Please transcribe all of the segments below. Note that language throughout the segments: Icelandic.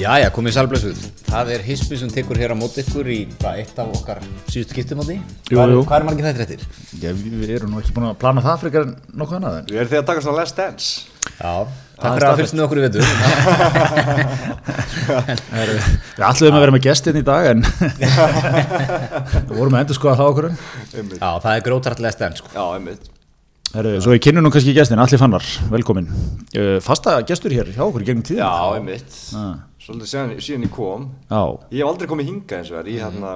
Jæja, komið sælblessuð. Það er hismi sem tekur hér á móti ykkur í bara eitt af okkar síðustu skiptumóti. Jú, Hvað, jú. hvað er margir þetta eftir? Já, við, við erum nú ekki búin að plana það frekar en nokkuð annað en. Við erum því að takast á Last Dance Já, takk fyrir að fylgst með okkur í vetur. Við ætlum að vera með gestinn í dag en við vorum að endur skoða það okkur. Já, það er grótartlega stend, sko. Já, einmitt Heru, svo ég kynnu nú kannski gestinn, Alli Fannar, velkomin. Uh, fasta gestur hér hjá okkur í gegnum tíðina. Já, einmitt Svolítið síðan, síðan ég kom Já, Ég hef aldrei komið hingað eins og verið Ég hérna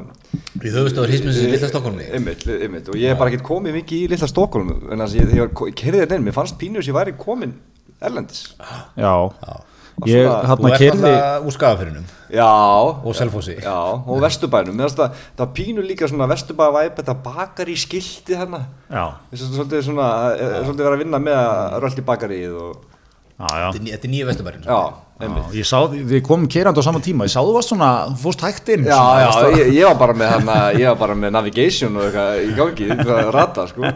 Við höfustóður hismi sem lilla Stokkólmi. Einmitt, einmitt Og ég hef bara ekkert komið mikið í litla Stokkólum En þess að ég, þegar ég, var- ég kerði þetta inn Mér fannst pínu þess að ég væri komin Erlendis já. Og Ég svona- Þú hérna ert kerði, alltaf úr skafafyrinum Já og selfósi. Já, og vesturbænum Mér fannst það, það pínu líka svona vesturbævæp Þetta bakar í skilti þarna já, Þess að svolítið svona eh, Svolítið vera að vinna með að rölti bakarið og já, já. Þetta er ný- þetta er nýja sko. vestabærin. Já, Já, einmitt ég sá, því- við komum kerandi á sama tíma, ég sá þú varst svona, þú fórst hægt inn. Já, svona, já, varst að- ég, ég var bara með hana, ég var bara með navigation og eitthvað í gangi, eitthvað rata, sko.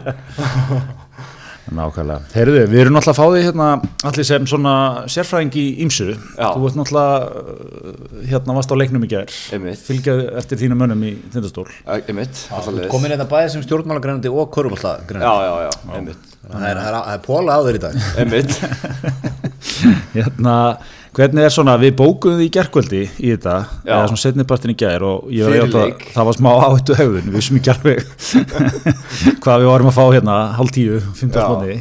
Nákvæmlega. Heyrðu, við erum náttúrulega að fá því hérna allir sem svona sérfræðing í ímsu. Já. Þú ert náttúrulega uh, hérna varst á leiknum í gær. Einmitt. Fylgjað eftir þínum mönnum í þindastól. Æ, Einmitt, alltaf Þú leið. ert komin þetta bæðið sem stjórnmálagrænandi og Já, körfumallagrændi. já, já, einmitt, Það er, það er, það er póla á þér í dag. einmitt. Hérna, hvernig er svona, við bókuðum því í gærkvöldi í þetta, Já. eða svona setnipartin í gær og ég Fyrir veit að leik. það var smá áhættu höfðun, við vissum ekki alveg hvað við varum að fá hérna, hálf tíu, Já. 15 manni.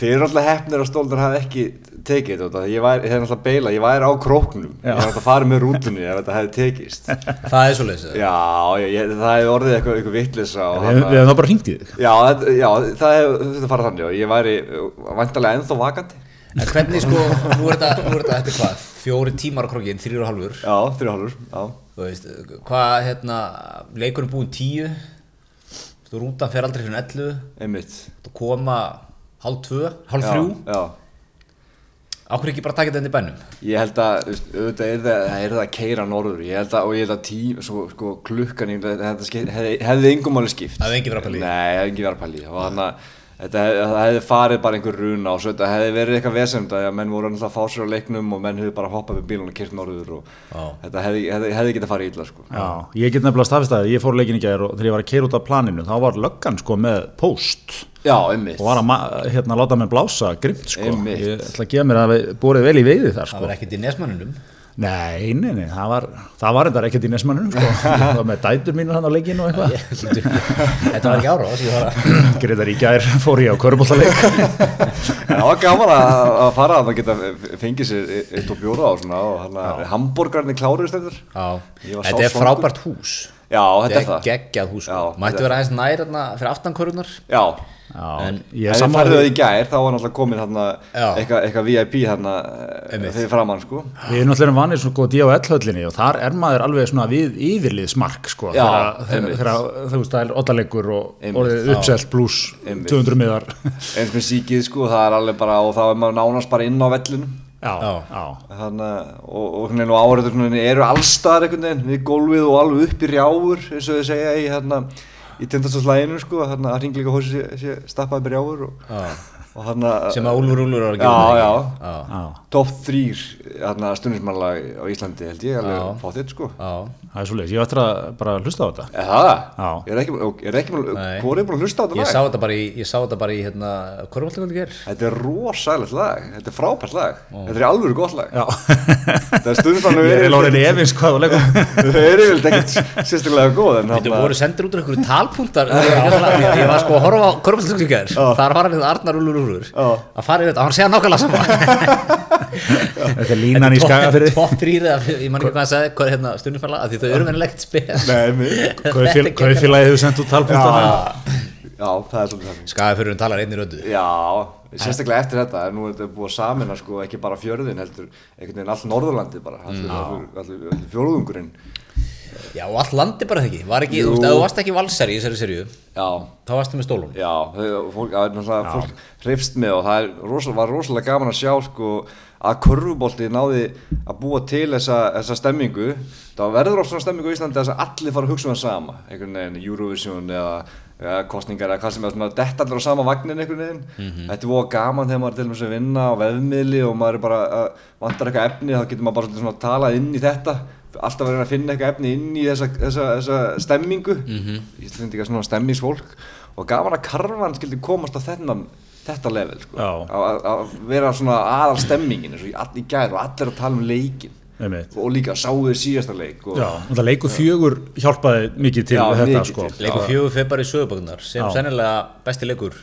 Þið eru alltaf hefnir að stóldur hafi ekki tekið þetta, út af því ég væri, þeir alltaf beila, ég væri á króknum, Já. ég var alltaf að fara með rútunni ef þetta hefði tekist. Það er svo leiðis. Já, ég, ég- það hefði orðið eitthvað, eitthvað vitlisa og Við við hefum þá bara hringt í þig. Já, þetta- já, það hefði þetta farið þannig og ég væri vantarlega ennþá vakandi. En hvernig sko, nú er þetta, nú er þetta, þetta er hvað, fjóri tímar á krokkin, þrýr og halvur, Já, þrjá hálfur, já. þú veist, hvað, hérna, leikurinn búinn tíu, þú rútan fer aldrei fyrir 11, Einmitt. þú koma hálf tvö, hálf þrjú, Já, já. ákveð ekki bara að taka þetta inn í bænum. Ég held að, þú veist, auðvitað er það, það er það að keira norður, ég held að, og ég held að tím, svo, sko, klukkan, ég held að þetta skip, hefði, hefði yngum máli skipt. Það hefði enginn verið að pæla í. Nei, hefði engin verið að pæli, og þannig að þetta hefði, það hefði farið bara einhver runa og svo þetta hefði verið eitthvað vesend að menn voru alltaf að fá sér á leiknum og menn hefði bara hoppað með bílun og kyrt norður og Já. þetta hefði, hefði, hefði getað farið illa, sko. Já, ég get nefnilega staðfist að ég fór leikin í gæðir og þegar ég var að keira út af planinu þá var löggan sko með post Já, einmitt. og var að ma- hérna, láta mér blása grimt sko Einmitt. ég ætla að gefa mér að við- borið vel í veiði þar Það sko var ekkert í nesmanninum. Nei, nei, nei, það var það var endar ekkert í nesmanninu sko það var með dætur mínu hann á leikinu og eitthvað þetta var ekki ára, ég var að, Greitar í gær fór ég á körbóltaleik En Það var gaman að, að fara að það geta fengið sér eitt og bjóra á svona og hann að hambúrgarnir klárist eftir. já, Ég var þetta er sársvangur. frábært hús, Já, þetta er þetta er það. geggjað hús, sko. Já, mættu þetta er vera aðeins nær þarna fyrir aftankörunar, Já, Já, En- ég Ef er þið færðu sammála það í því- gær, þá var náttúrulega komin hérna Já. eitthvað eitthva VIP hérna Einmitt. þegar framann sko. Við erum náttúrulega vanir svona góð D.O.L-höllinni og þar er maður alveg svona við yfirliðsmark sko, Já, þegar- þegar einmitt. þegar þú veist það er oddalegur og Einmitt. orðið uppselt pluss Einmitt. 200 miðar Eins með síkið sko, það er alveg bara, og þá er maður nánast bara inn á vellinu. Já, Já. já. Þannig að, og, og hvernig nú áhverjum svona eru allstaðar einhvern veginn, við gólfið og alveg upp í rjáfur, eins og þið segja í hérna, í tindastóðslæginu sko, hérna að ringleika hósi sé, sé stappaði með rjáfur og, Já. og hérna, sem að Úlfur Úlfur var að já, gera já, já. Já. top 3 hérna stundismannlag á Íslandi held ég Já. alveg fótt sko. Já, Það er svolítið, ég ætti að bara hlusta á þetta Er það? Já. Er ekki, er ekki, Nei. hvori er búin að hlusta á þetta lag? Ég sá þetta bara í, ég sá þetta bara í hérna, Korvaldagaldi ger Þetta er rosalegt lag, þetta er frábært lag, þetta er alveg gott lag. Já, Þetta er stundum ég þannig er eiginlega orðin efins hvað þú leggur Þau eru yfirleitt ekkert sérstaklega góð en Þetta voru sendir út úr einhverju talpuntar Ég var sko að horfa á Korvaldagaldi ger Þar var hann við Arnar Úlfur Úlfur Að fara yfir þetta, hann segja nákvæmlega sama Þetta er línan í skaga fyrir Top 3 eða, ég man ekki hvað hann sagði Hvað er hérna stundumfæla, af því þau eru venilegt spes Nei, mér- Kaufélagið hefur sendt út talpunktana Já, það er svolítið þannig. Skagafjörðurinn talar einni röndu Já, sérstaklega eftir þetta, nú er þetta búið að samina sko ekki bara fjörðin heldur, einhvern veginn allt Norðurlandið bara, allir, Mm. allir, allir, allir fjörðungurinn. Já, og allt landi bara það ekki, var ekki, þú Jú. veist, ef þú varst ekki valsari í þessari serju Já, Þá varstu með stólun Já, þau- fólk, það er náttúrulega fólk hrifst með og það er rosal, var rosalega gaman að sjá sko að körfubolti náði að búa til þessa, þessa stemmingu þá verður oft svona stemmingu í Íslandi þess að allir fara að hugsa um það sama einhvern veginn Eurovision eða ja, kostningar eða hvað sem er svona detta allir á sama vagnin einhvern veginn þetta er voða gaman þegar maður er til dæmis að vinna á vefmiðli og maður er bara að vantar eitthvað efni þá getur maður bara svolítið svona talað inn í þetta alltaf verður að finna eitthvað efni inn í þessa, þessa, þessa stemmingu mm -hmm. Íslendingar svona stemmingsfólk og gaman að karvan skildi komast á þennan þetta level sko. Já. Að- að að vera svona aðal stemmingin eins og í, all- í gær og allir að tala um leikin Einmitt. og líka sáu þið síðasta leik og, Já, og það leikur fjögur hjálpaði mikið til Já, þetta mikið sko. til. leikur fjögur fer bara í sögubögnar sem Já. sennilega besti leikur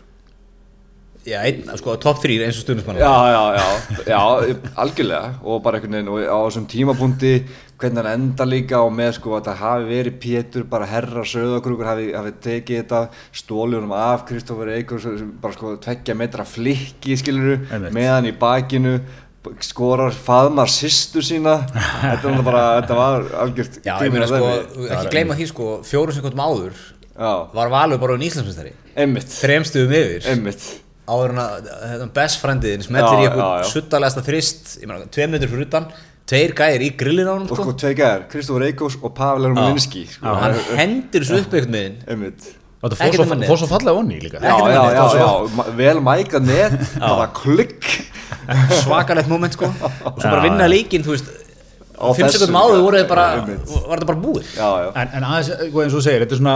já, einn, sko, top 3 eins og stundismann já, já, já, já, algjörlega og bara einhvern veginn og á þessum tímapunkti hvernig hann enda líka og með sko að það hafi verið Pétur bara herra söðakrúkur hafi, hafi tekið þetta stólunum af Kristófur Eikur bara sko tveggja metra flikki skiluru Einmitt. með hann í bakinu b- skorar faðmar sýstu sína þetta var bara, þetta var algjört já ég meina grín að sko, veðri. ekki gleyma því sko fjórum sekundum áður já, var Valur bara um Íslandsmyndstari einmitt, þremstuðum yfir einmitt áður en að þetta best frendiðin smellir í Já, já, eitthvað já. suttalegasta þrist ég meina, tveim metur fyrir utan, tveir gæðir í grillin á hann og sko, sko tveikar, Kristófur Eikos og Pavel Ermolinski sko, og hann hendir svo upp einhvern veginn einmitt Og Þetta fór Ekkert um svo, mannið. fór svo fallega onni líka. Já. já, Ekkert já, minni, já, sko. þetta var já, ma- vel mækað net bara klikk svakalegt moment sko og svo bara Já, vinna já. leikinn, þú veist Á fimm þessu, sekundum áður voru þið bara einmitt. var þetta bara búið já, já, En, en aðeins, hvað eins og þú segir, þetta er svona,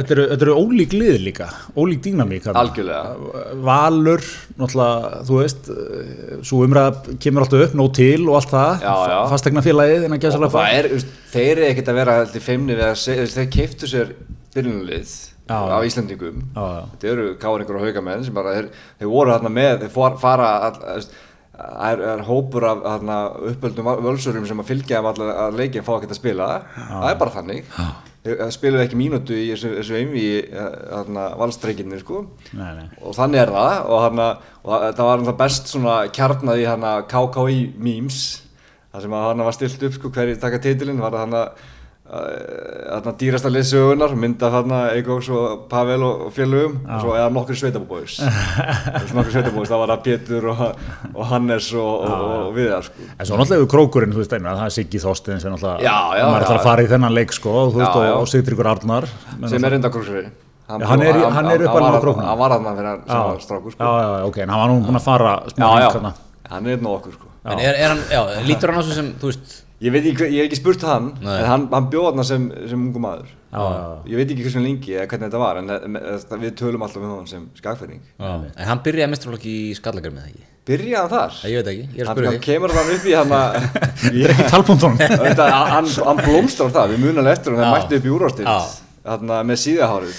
þetta eru, þetta eru ólík lið líka, ólík dýnamík. þarna. algjörlega Valur, náttúrulega, þú veist, eh, svo umræða kemur alltaf upp, nóg til og allt það, Já, já. fastegna félagið, en að gæsa og það er, þú veist, þeir eru ekkert að vera heldur feimni við að se- þú veist, þeir keiftu sér byrjunlið Já, á já. Íslandingum Já, já. þetta eru káringur og haugamenn sem bara, þeir, þeir voru þarna með, þeir for, fara all, þú veist, það er, er hópur af þarna, uppöldum völsurum sem að fylgja af alla að leikin fá ekkert að spila það er bara þannig Þeir- þeir spiluðu ekki mínútu í þessu, þessu einvi valstreikinni sko Nei, nei. og þannig er það og, hana, og það- það var náttúrulega best svona kjarnað í hana KKI memes þar sem að hana var stilt upp sko hverju taka titilinn var hana þarna dýrasta liðsögunar mynda þarna Eikóks og Pavel og og félögum og svo eða nokkur sveitabóis nokkur sveitabóis, það var að Pétur og, og Hannes og, og, og Viðar sko. En svo náttúrulega hefur krókurinn, þú veist, einnig að það er Siggi Þorstein sem náttúrulega, Já, já, maður já. ætlar að fara í þennan leik sko, og þú veist, Já, já. og, og Sigtryggur Arnar. menn sem er enda króksveri Já, hann er í- hann er uppalega á króknum. hann var þarna fyrir Já, hann strákur sko. já, já, já, ok, en hann var nú búin að fara smá já, hring já, þarna. hann er einn og okkur sko. en er, er hann, já, lítur hann á svo sem, þú veist Ég veit ekki, hver- ég hef ekki spurt hann, Nei. en hann, hann bjóð hann sem, sem ungu maður. Já, já, Ég veit ekki hversu lengi eða hvernig þetta var, en eh, me- eh, við tölum alltaf um hann sem skagferðing. en hann byrjaði mestraflokki í skallagar með það ekki Byrjaði hann þar? það ég veit ekki, ég er að Hann, spyrja hann þig kemur þann upp í hann að... þetta er ekki talbúndunum. Þetta, hann, hann blómstrar það, við munum alveg eftir hann, Já. það mætti upp í úrvarsdeild, Já. þarna með síðahárið.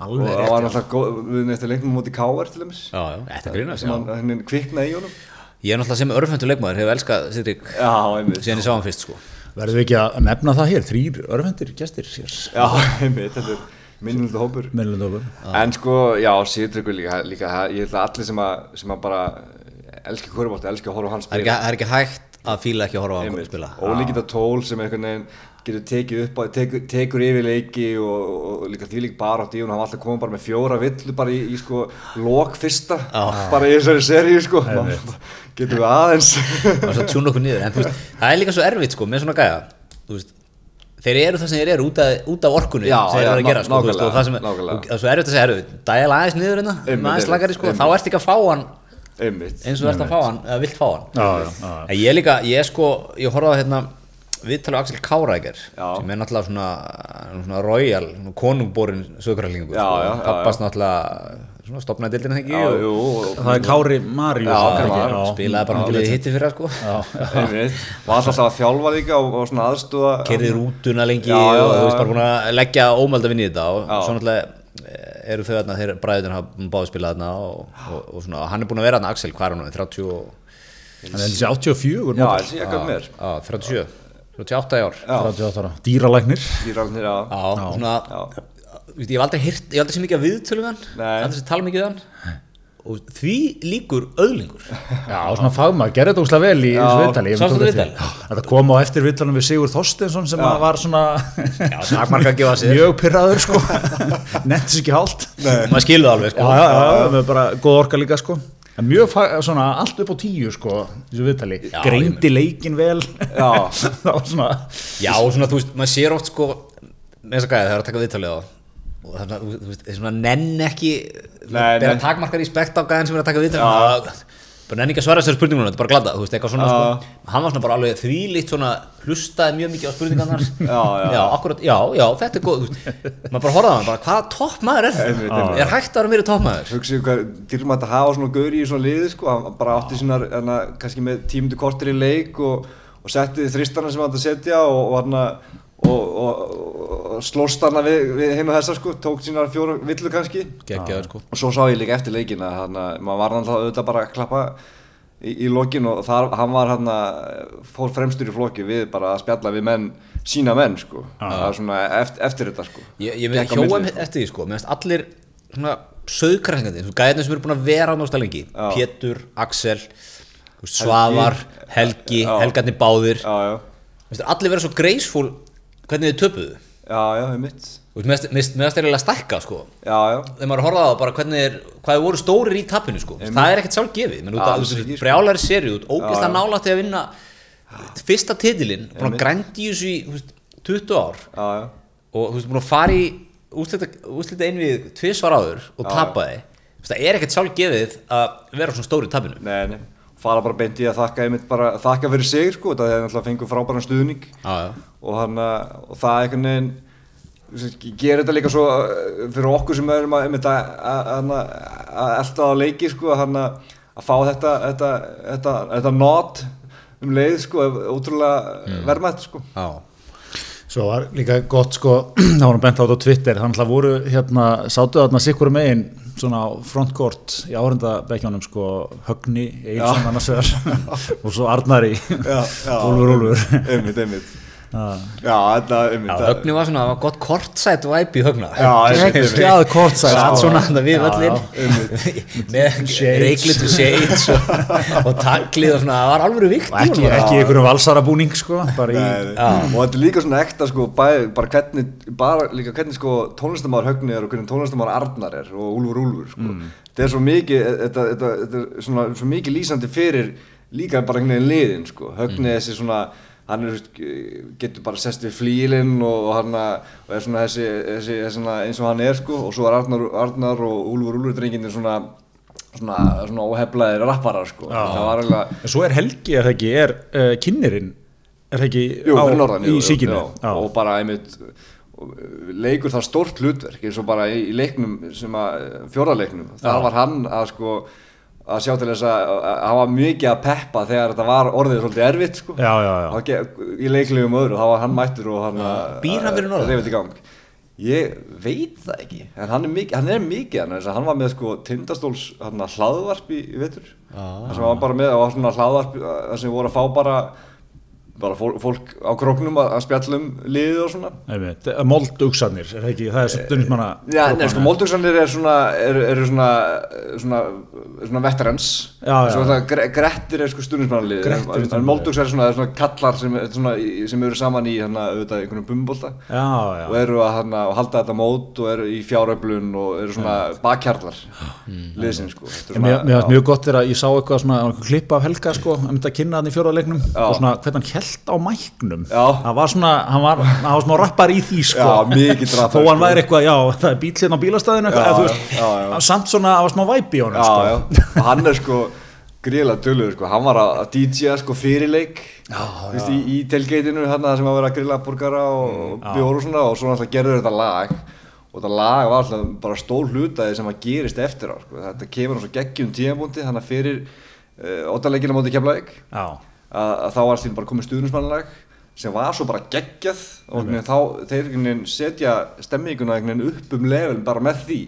alveg Og rétt, það var náttúrulega góð, við nefntum leiknum móti K.R. til dæmis, já, já, þetta grínast já. sem hann henni kviknaði í honum. ég er náttúrulega sem örfendur leikmaður, hefur elskað Sidrik Já, einmitt. síðan ég sá hann fyrst sko Verðum við ekki að nefna það hér, þrýr örfendir gestir hér, Já, einmitt, þetta er minnildu hópur. meðlundofur. Ah. En sko, já, síðutryggur líka, líka það- ég held að allir sem að, sem að bara elski hverjabólti, elski að horfa á hans það er ekki, það er ekki hægt að fíla ekki að horfa á hann spila Ah. ólíkita tól sem einhvern veginn getur tekið upp á, tekur, tekur yfir leiki og, og líka því líka bara átt í hún, hann var alltaf komið bara með fjóra villu bara í, í sko lok fyrsta, Ah. bara í þessari seríu sko, getur við aðeins og svo tjúna okkur niður en þú veist, það er líka svo erfitt sko með svona gæja þú veist, þeir eru það sem þeir eru út af, út af orkunni Já, sem þeir já, eru að gera sko, nákvæmlega, þú veist, og það sem og, nákvæmlega. og það er svo erfitt að segja erfitt dæla aðeins niður hérna, Einmitt, með aðeins lagari sko einmitt. þá ert ekki að fá hann einmitt, eins og þú ert að fá hann, eða vilt fá hann Já, já, já. en ég líka, ég sko, ég horfði á hérna viðtalið á Axel Kárækjar Já. sem er náttúrulega svona, svona royal, svona konungborinn sögurarlingur, Já, já, já, pappast náttúrulega svona stopnaði dildina þegar já, ekki og- jú, og- Það er Kári Maríu. Já, og- já, já. spilaði bara hann liðið hitti fyrir sko einmitt, var alltaf að þjálfa líka og, og svona aðstúða kerði rútuna lengi Já, já, og þú já, veist já. bara búin að leggja ómælda vinni í þetta og Já. svo náttúrulega eh, eru þau þarna, þeir bræðurinn hafa báði spilað þarna og, og, og svona, hann er búin að vera þarna Axel, hvað er hann, orðinn, 30 og, Hann er þessi 84, Já, módel, þessi ég gaf mér á, 37 38 ára já, 38 ára, dýralæknir. Dýrarnir, já. Ah. svona, Já. Þú veist, ég hef aldrei hirt, ég hef aldrei sem mikið að viðtölu við hann Nei. aldrei sem tala mikið við hann og því líkur öðlingur Já, svona fagmaður, gerði þetta óslega vel í þessu viðtali. ég sástu tók eftir. viðtalið? Þetta kom á eftir viðtalum við Sigur Þorsteinsson sem að var svona takmarka að gefa sér. mjög pyrraður sko, nefntis ekki hálft. maður skilur það alveg Já, sko já, já, já, með bara góð orka líka sko. En mjög fag, svona allt upp á tíu sko, þessu viðtali. Já, Greindi leikin vel. Já. það var svona, Já, svona, þú veist, maður sér oft sko með þess að gæða þegar það er að taka viðtalið á og þannig að þú- þú veist, svona nenn ekki Nei, bera nei. takmarkar í spekt á gæðin sem er að taka vitur bara nenn ekki að svara þessari spurningunum þetta er bara glada, þú veist, eitthvað svona Já. sko, hann var svona bara alveg þvílitt svona hlustaði mjög mikið á spurningarnar Já, já. já, akkurat, já, já, þetta er góð þú veist, maður bara horfði á hann, bara hvaða toppmaður er Einmitt, þetta, einmitt. er hægt að vera meiri toppmaður Hugsið hvað dýrmætt að hafa svona gauri í svona liði sko, hann bara átti sínar hana, kannski með tímundu kortir í leik og, og setti þristana sem hann átti að setja og, og, hana, og, og, og, og slóst hana við, við hinn og þessa sko, tók sínar fjóra villu kannski geggjaður sko og svo sá ég líka eftir leikin að hana, maður var náttúrulega auðvitað bara að klappa í, í lokin og þar, hann var hana, fór fremstur í flokki við bara að spjalla við menn, sína menn sko, það var svona eftir, eftir þetta sko Ég, ég með Gekk á hjóa milli, sko. eftir því sko, meðan allir svona söðkræsingandi, þú gæðinu sem eru búin að vera á náttúrulega lengi, Pétur, Axel þú veist, Svavar, Helgi Já. Helgarnir báðir, Já, já, Meðan allir vera svo graceful hvernig þið töpuðu, já, já, einmitt Þú veist, meðan það er eiginlega stækka sko, Já, já, þegar maður horfaði á bara hvernig er, hvað þið voru stórir í tapinu sko, Þú veist, það er ekkert sjálfgefið, menn út að Alls þú ekki, veist, sko. brjálari seri út, ógeðslega nálægt því að vinna fyrsta titilinn, búin að grændi í þessu í, þú veist, 20 ár já, já og þú veist búin að fara í úslita, úslita einvið tvisvar áður og tapa þið Þú veist, það er ekkert sjálfgefið að vera svona stóri í tapinu Nei, nei, fara bara beint í að þakka einmitt bara, þakka fyrir sig sko, það er náttúrulega fengur frábæran stuðning Já, og, hana, og það einhvern veginn gerir þetta líka svo eh, fyrir okkur sem erum að, einmitt að, að, að, að elta á leiki sko, hana, að fá þetta, þetta, þetta, þetta not um leið sko, er ótrúlega mm. verðmætt sko. já, Svo var líka gott sko, það var hann bent á þetta á Twitter, hann alltaf voru hérna, sátu þarna sikkur megin svona á frontcourt í áhrendabekkjónum sko, Högni, Eilsson annars vegar og svo Arnari, Úlfur Úlfur. einmitt, einmitt Já, þetta, já einmitt það- Högni var svona, það var gott kortsætt væp í Högna Já, einmitt, einmitt. Gekkjað kortsætt, Satt sko. svona hann við Já, völlin með Shades. reiklitu shades og, og taglið og svona, það var alveg vikt Og ekki, ekki í einhverjum valsarabúning sko, bara í, Nei, nei. og þetta er líka svona ekta sko, bæ, bara hvernig, bara líka hvernig sko, tónlistamæður Högni er og hvernig tónlistamæður Arnar er og Úlfur Úlfur sko. Mm. þetta er svo mikið þetta, þetta, þetta er svona, svo mikið lýsandi fyrir líka bara einhvern veginn liðin sko. Högni Mm. er þessi svona hann er, þú veist, getur bara sest við flílinn og, og, hann að- og er svona þessi, þessi, þessi svona eins og hann er sko. og svo er Arnar, Arnar og Úlfur Úlfur drenginir svona svona, svona óheflaðir rapparar sko. það var alveg En svo er Helgi, er það ekki, er uh, kynnerinn, er það ekki Jú, á, fyrir norðan, í jú, jú, síkinu? já, og bara einmitt og, uh, leikur það stórt hlutverk eins og bara í, í leiknum sem að fjórðarleiknum, þar var hann að sko að sjá til þess að að- að hann var mikið að peppa þegar þetta var orðið svolítið erfitt sko Já, já, já. Og ge- í leiklegum öðru, þá var hann mættur og hann Býr hann fyrir norðan? reyfði í gang ég veit það ekki en hann er mikið, hann er mikið hann, hann var með sko tindastóls hann, hlaðvarp í, í vetur ah. sem hann var bara með, það var svona hlaðvarp uh, þar sem voru að fá bara bara fól- fólk á króknum að, að spjalla um liðið og svona Einmitt, eh, moldugsanir, er það ekki, það er svo dunnismanna Eh, Já, nei, sko, Moldugsanir er svona, er, eru svona, eh, svona, svona veterans Já, já. Svo þetta Gre Grettir er sko stundismannalið Grettir er En, en stuðningsmannalið. Moldugsanir er svona, er svona kallar sem, er svona, í- sem eru saman í hana, auðvitað, einhvernum bumbólta Já, já, Og eru að hana, og halda þetta mót og eru í fjáröflun og eru svona bakhjarlar liðsinn, sko Þetta er En Mér svona- mér fannst mjög gott þegar ég sá eitthvað svona það var eitthvað klipp af Helga sko, hann myndi að kynna hann í fjóraðleiknum og svona hvernig hann held á mæknum Já. það var svona, hann var, hann var svona rappar í því sko, Já, mikill rappari, þó hann sko. væri eitthvað, já, það er bíl hérna á bílastæðinu eitthvað, Já, eða þú já, veist, já, já. hann var samt svona, það var smá væpi í honum já, sko já, og hann er sko gríðilega dölur sko, hann var að að DJ-a sko fyrirleik já, Vist, í, í telgeitinu hann sem að vera að grilla burgara og mm, bjór og svona og svo náttúrulega gerður þetta lag og þetta lag var alltaf bara stór hlutaði sem að gerist eftir á sko. þetta kemur á svo geggjum tíðanbúndi þannig að fyrir uh, óttalegina móti kemlaðik já, að, að þá var allir bara komið stuðnismannlag sem var svo bara geggjað og mm. þá þeir einhvern veginn setja stemminguna einhvern veginn upp um level bara með því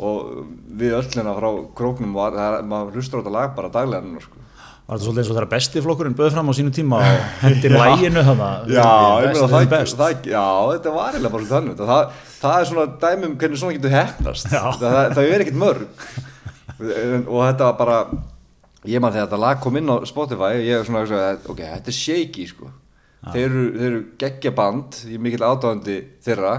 og við öllina frá króknum var, það, er- maður hlustur á þetta lag bara daglega núna sko. var þetta svolítið eins og þegar besti flokkurinn böð fram á sínu tíma og hendir læginu þannig Já, ég meina það, best það, já, þetta var eiginlega bara svolítið þannig það, það, það er svona dæmi um hvernig svona getur hefnast Já. það, það, það er ekkert mörg En- og þetta var bara ég man þegar þetta lag kom inn á Spotify ég er svona, svona ok, þetta er shaky sko. þeir, eru, þeir eru geggja band ég er mikill ádáðandi þeirra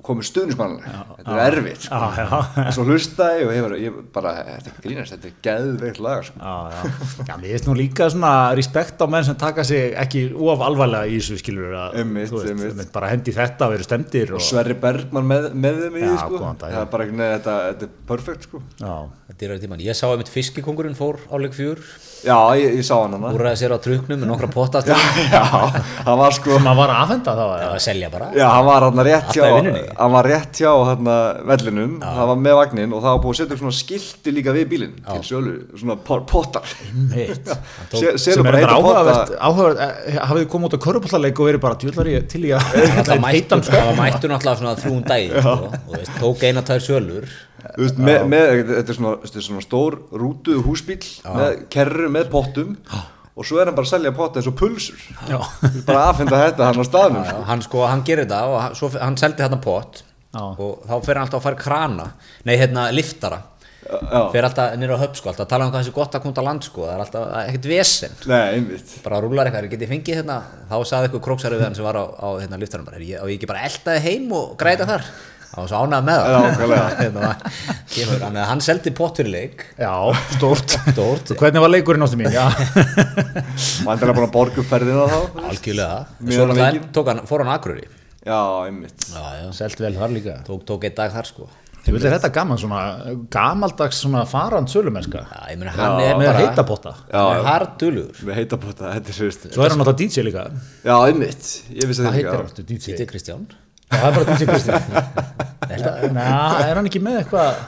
og komið stuðnismannlega, þetta er erfitt sko. Já, já. en svo hlusta ég og hefur, ég bara, þetta er grínast, þetta er geðveikt lag sko. Já, já. já, mér finnst nú líka svona respekt á menn sem taka sig ekki of alvarlega í þessu skilur að Einmitt, þú veist, einmitt. einmitt, bara hendi þetta að vera stemdir og og, Sverri Bergman með, með þeim í því Já, sko. góðan dag, það er bara ekki neða, þetta, þetta er perfekt sko. já, Þetta er tíman. Ég sá einmitt fiskikongurinn fór áleik fjör, já, ég, ég sá hann hana úrraði sér á truknum með nokkra potta aftur. já, hann var sko sem að var að afhenda þá Það já, var að selja bara. já, hann var hann rétt Alltaf hjá í vinnunni. hann var rétt hjá hann vellinum, það var með vagnin og það var búið að setja upp svona skilti líka við bílinn til sölu, svona po- pottar mitt tók- Se- sem er selur bara þetta heita áhugavert, potta áhugavert eh, hafið þið komið út á körupallaleik og verið bara djúlar ég til í að Það var mættur heitan sko náttúrulega, mættu náttúrulega svona þrjún dæði og, og sko. veist, tók eina tær sölur Þú veist, með, með, þetta, er svona, þetta er svona stór rútu húsbíl með kerru með pottum og svo er hann bara að selja potta eins og pulsur Já. bara aðfinda þetta hann á staðnum sko. Já, hann sko, hann gerir það og hann, svo, hann seldi hérna pott Já. og þá fer hann alltaf að fara krana nei, hérna, liftara Já. fer alltaf niður á höf, sko, alltaf að tala um hvað þessi gott að kunda land, sko, það er alltaf ekkert vesen Nei, einmitt bara rúlar eitthvað, "Heyrðu, get ég fengið hérna þá sagði eitthvað króksari við hann sem var á, á hérna, liftarum bara, "Heyrðu, ég, á ég ekki bara eldaði heim og græta þar það var svo ánægð með það Já, nákvæmlega. hérna, það kemur, hann, hann seldi pott fyrir leik já, stórt Stórt. hvernig var leikurinn ástu mín já, Vandilega búin að borga upp ferðina þá algjörlega, Mjög svo náttúrulega mikið. tók hann, fór hann agrur í Já, einmitt já, já, selt vel þar líka tók, tók einn dag þar sko Ég vil þetta gaman svona, gamaldags svona farand sölumenska já, ég meni, hann er með bara heita potta hann Já, er hardulugur við heita bóta, þetta er sérst Svo er hann átt að DJ líka Já, einmitt, ég vissi Það þetta heitir ekki hann já. aftur DJ Títið Kristján Já, Það er bara DJ Kristján Næ, er hann ekki með eitthvað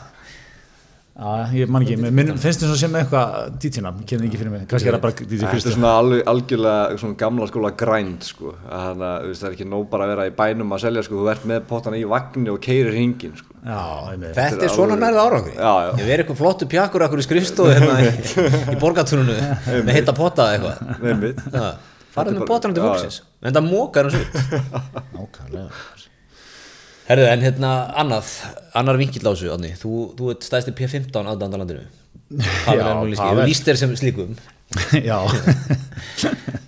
Já, ég man ekki, mér minn- finnst þess að sé með eitthvað DJ-nafn, ég kemði ekki fyrir mig, kannski er það bara DJ Þetta er Kristján svona alveg, algjörlega svona gamla skóla grænd sko. Þannig að þú veist, það er ekki nóg bara að vera í bænum að selja sko. Þú ert með potana í vagninni og keirir hringin sko. Já, einmitt Þetta er svona alveg- nærða árangri Já, já. Ég verið eitthvað flottu pjakkur akkur í skrifstóðu hérna í, í borgatúrunu með heita potta eða eitthvað Einmitt Já, Farðu með bara- potanum til já, fólksins en það mókar hans út Nákvæmlega Herðu en hérna annað annar vinkill á þessu Árni þú, þú ert stæðstir P15 aðdandalandinu Já, Ég Pavel. líst þér sem slíkum Já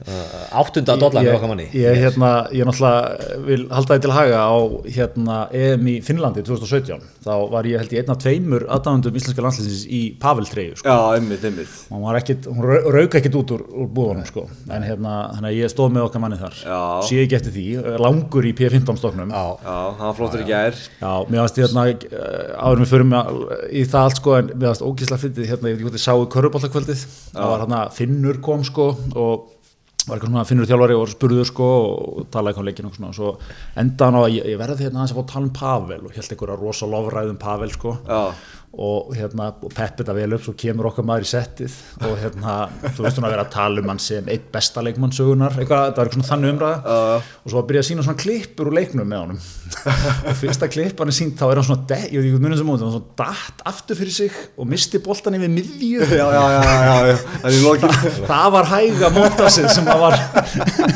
Uh, áttunda dollarni Ég- okkar manni Ég, hérna, ég náttúrulega vil halda þið til haga á hérna, EM í Finnlandi 2017 Þá var ég held ég einn af tveimur aðdæmendum íslenska landslýsins í sko. Paveltreyju Já, einmitt, einmitt og hún, var ekkit, hún rauk ekkit út úr, úr búðunum sko. en hérna, hérna ég stóð með okkar manni þar Já. sé ekki eftir því, er langur í P15 stoknum já, Já, Já, hann var flottur í gær mér varst hérna eh, áður en við förum að- í það allt sko, en mér varst ógísla fyndið hérna, ég veit ekki hvort þið sáu körubáltakvöldið, það var hérna Finnur kom sko og var eitthvað svona Finnur þjálfari og spurður sko og talaði eitthvað um leikinn og svona og svo enda hann á að ég, ég verði hérna aðeins að fá að tala um Pavel og held einhverja rosa lofræðum Pavel sko Já. og hérna og peppi þetta vel upp svo kemur okkar maður í settið og hérna þú veist hún að vera að tala um hann sem eitt besta leikmann sögunar eitthvað, það var eitthvað svona þannig umræða og svo að byrja að sína svona klippur úr leiknum með honum og fyrsta klipp hann er sínt þá er hann svona, de- ég veit ekki munum sem móti hann er svona datt aftur fyrir sig og misti boltan yfir miðju Já, já, já, já, já. Það er í lokin það var hæga mótasið sem að var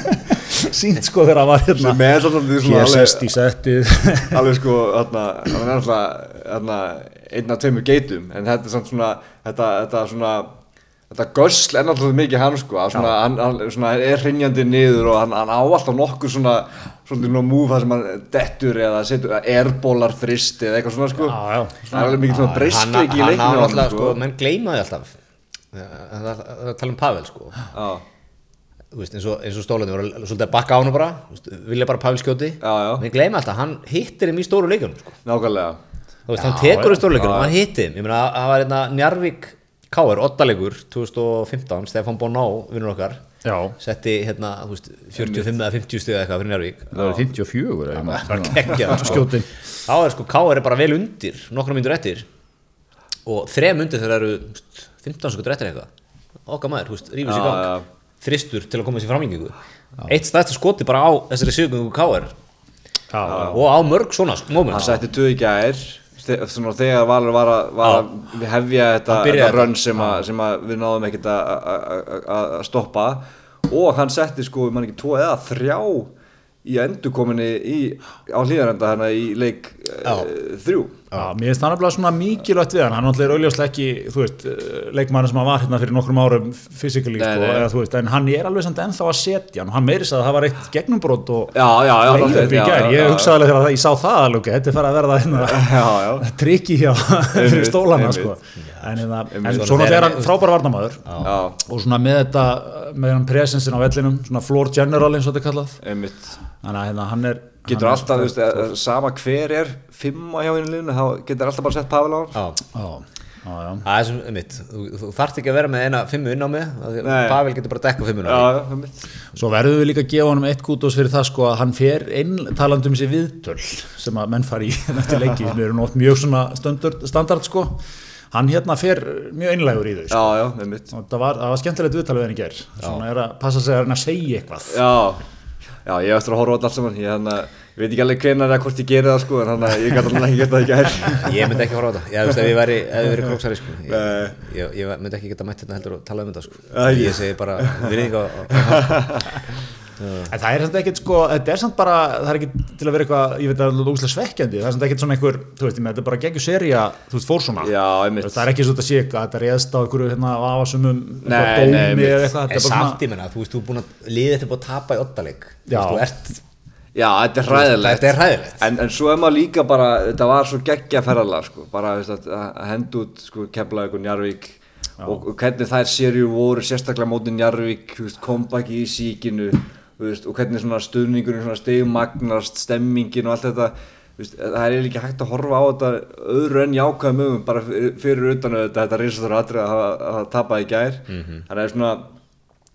sínt sko þegar að var hérna Sem er svona- þetta er svona hér alveg- sest í settið alveg sko þarna, hann er náttúrulega þarna, einn af tveimur geitum en þetta er samt svona þetta, þetta svona þetta gösl er náttúrulega mikið hann sko að svona, hann, hann svona er hrinjandi niður og hann, hann á alltaf nokkur svona svona nú múf það sem hann dettur eða setur erbólar þrist eða eitthvað svona sko Já, já. það er alveg mikið svona hann, breystleik hann í á leikinu alltaf sko, menn gleymaði alltaf Uh, það það- það tala um Pavel sko já, Þú veist, eins og, eins og stólarnir voru svolítið að bakka á hann bara þú veist, vilja bara Pavel skjóti Já, já. menn gleyma alltaf, hann hittir þeim í stóru leikunum sko. nákvæmlega þú veist, hann tekur já. í stóru leikunum og hann hittir þeim, ég meina, það var hérna einna Njarvík Káur, ottalegur 2015 Stefan Boná, vinnur okkar já, setti hérna, þú veist, 45 eða 50 stiga eitthvað fyrir Njarvík það var 54 eða eitthvað. bara geggja sko. Skjótin. þá er sko Káur er bara vel undir nokkra myndur eftir og þrem undir þegar eru þú veist, 15 sekundur eftir eitthvað okkar maður, þú veist, rífur sér í Já, gang já. þristur til að koma sér framlengingu eitt stærsta skoti bara á þessari sigurgöngu Káur já, já og á mörg svona sk- moment hann setti tvö í gær þe- svona þegar Valur var að, var að hefja þetta, Hann byrjaði þetta þetta. rönn sem, að- sem að við náðum ekkert að- að að- að- að stoppa og hann setti sko, mann ekki, tvo eða þrjá í endurkominni í, á hlýðarenda hérna í leik Já. eh, þrjú Já, mér finnst það nefnilega svona mikilvægt við hann, hann náttúrulega er auðljóslega ekki, þú veist, leikmæður sem hann var hérna fyrir nokkrum árum fysikali, Nei, sko, nei. eða þú veist, en hann er alveg samt ennþá að setja hann og hann meiri að það var eitt gegnumbrót og Já, já, já, leið náttúrulega, upp í já, gær, já, já. ég hugsaði alveg þegar að ég sá það alveg, ok, þetta er farið að verða hérna já, já, trikki hjá fyrir Einmitt, stólana, einmitt. sko, en, hérna- en Einmitt. svona er hann frábær varnamæður já, og svona með þetta, með hann presensin á vellinum, svona floor general eins og þetta er kallað, einmitt þannig að hérna, hann er getur hann er- alltaf, þú veist, eh, sama hver er fimma hjá einu liðinu, þá getur alltaf bara sett Pavel á hann Já. Já, já, já. Það er sem, mitt, þú, þú þarft ekki að vera með eina fimmu inn á mig, af því að Nei. Pavel getur bara að dekka fimmuna. já, já, einmitt Svo verðum við líka að gefa honum eitt kútos fyrir það sko að hann fer inn talandi um sér viðtöl sem að menn fari í nætti leiki sem eru nótt mjög svona standard, standard sko hann hérna fer mjög einlægur í þau sko. já, já, einmitt og það var, það var skemmtilegt viðtal við henni ger svona er að passa sig að hann að segja eitthvað já, já, ég hef eftir að horfa á þetta allt saman ég hann veit ekki alveg hvenar eða hvort ég geri það sko en hann ég gæti alveg ekki gert það ekki hær Ég myndi ekki horfa á þetta, ég, þú veist, ef ég væri, ef ég væri króksari, sko, ég, ég, ég myndi ekki geta mætt hérna heldur og tala um þetta, sko. Nei, ég ég- segi bara, virðing á, á- en það er samt ekkert sko, þetta er samt bara það er ekki til að vera eitthvað, ég veit að það er úslega svekkjandi það er samt ekkert svona einhver, þú veist, ég með þetta er bara geggjur seria, þú veist, fór svona já, Þú veist, einmitt það er ekki svo þetta sé eitthvað, þetta réðst á einhverju hérna afasumum, Nei, eitthvað nei, dómi einmitt. eða eitthvað, þetta en er bara samt í menna, þú veist, þú er búin að, liðið þetta er búin að tapa í oddaleik, þú Já. veist, þú ert, já, þetta er hræðilegt þetta er hræðilegt. En, en svo er maður líka bara, þetta var svo geggja ferðalega sko, bara þú veist, að, að henda út sko, Keflavík og Njarvík og, og hvernig þær sériu voru sérstaklega móti Njarvík, þú veist, comeback í síkinu þú veist, og hvernig svona stuðningurinn svona stegumagnast, stemmingin og allt þetta þú veist, það er eiginlega ekki hægt að horfa á þetta öðru en jákvæðum um bara fyrir, fyrir utan þetta, þetta risastur atrið að hafa- hafa tapað í gær Mhm. þannig að svona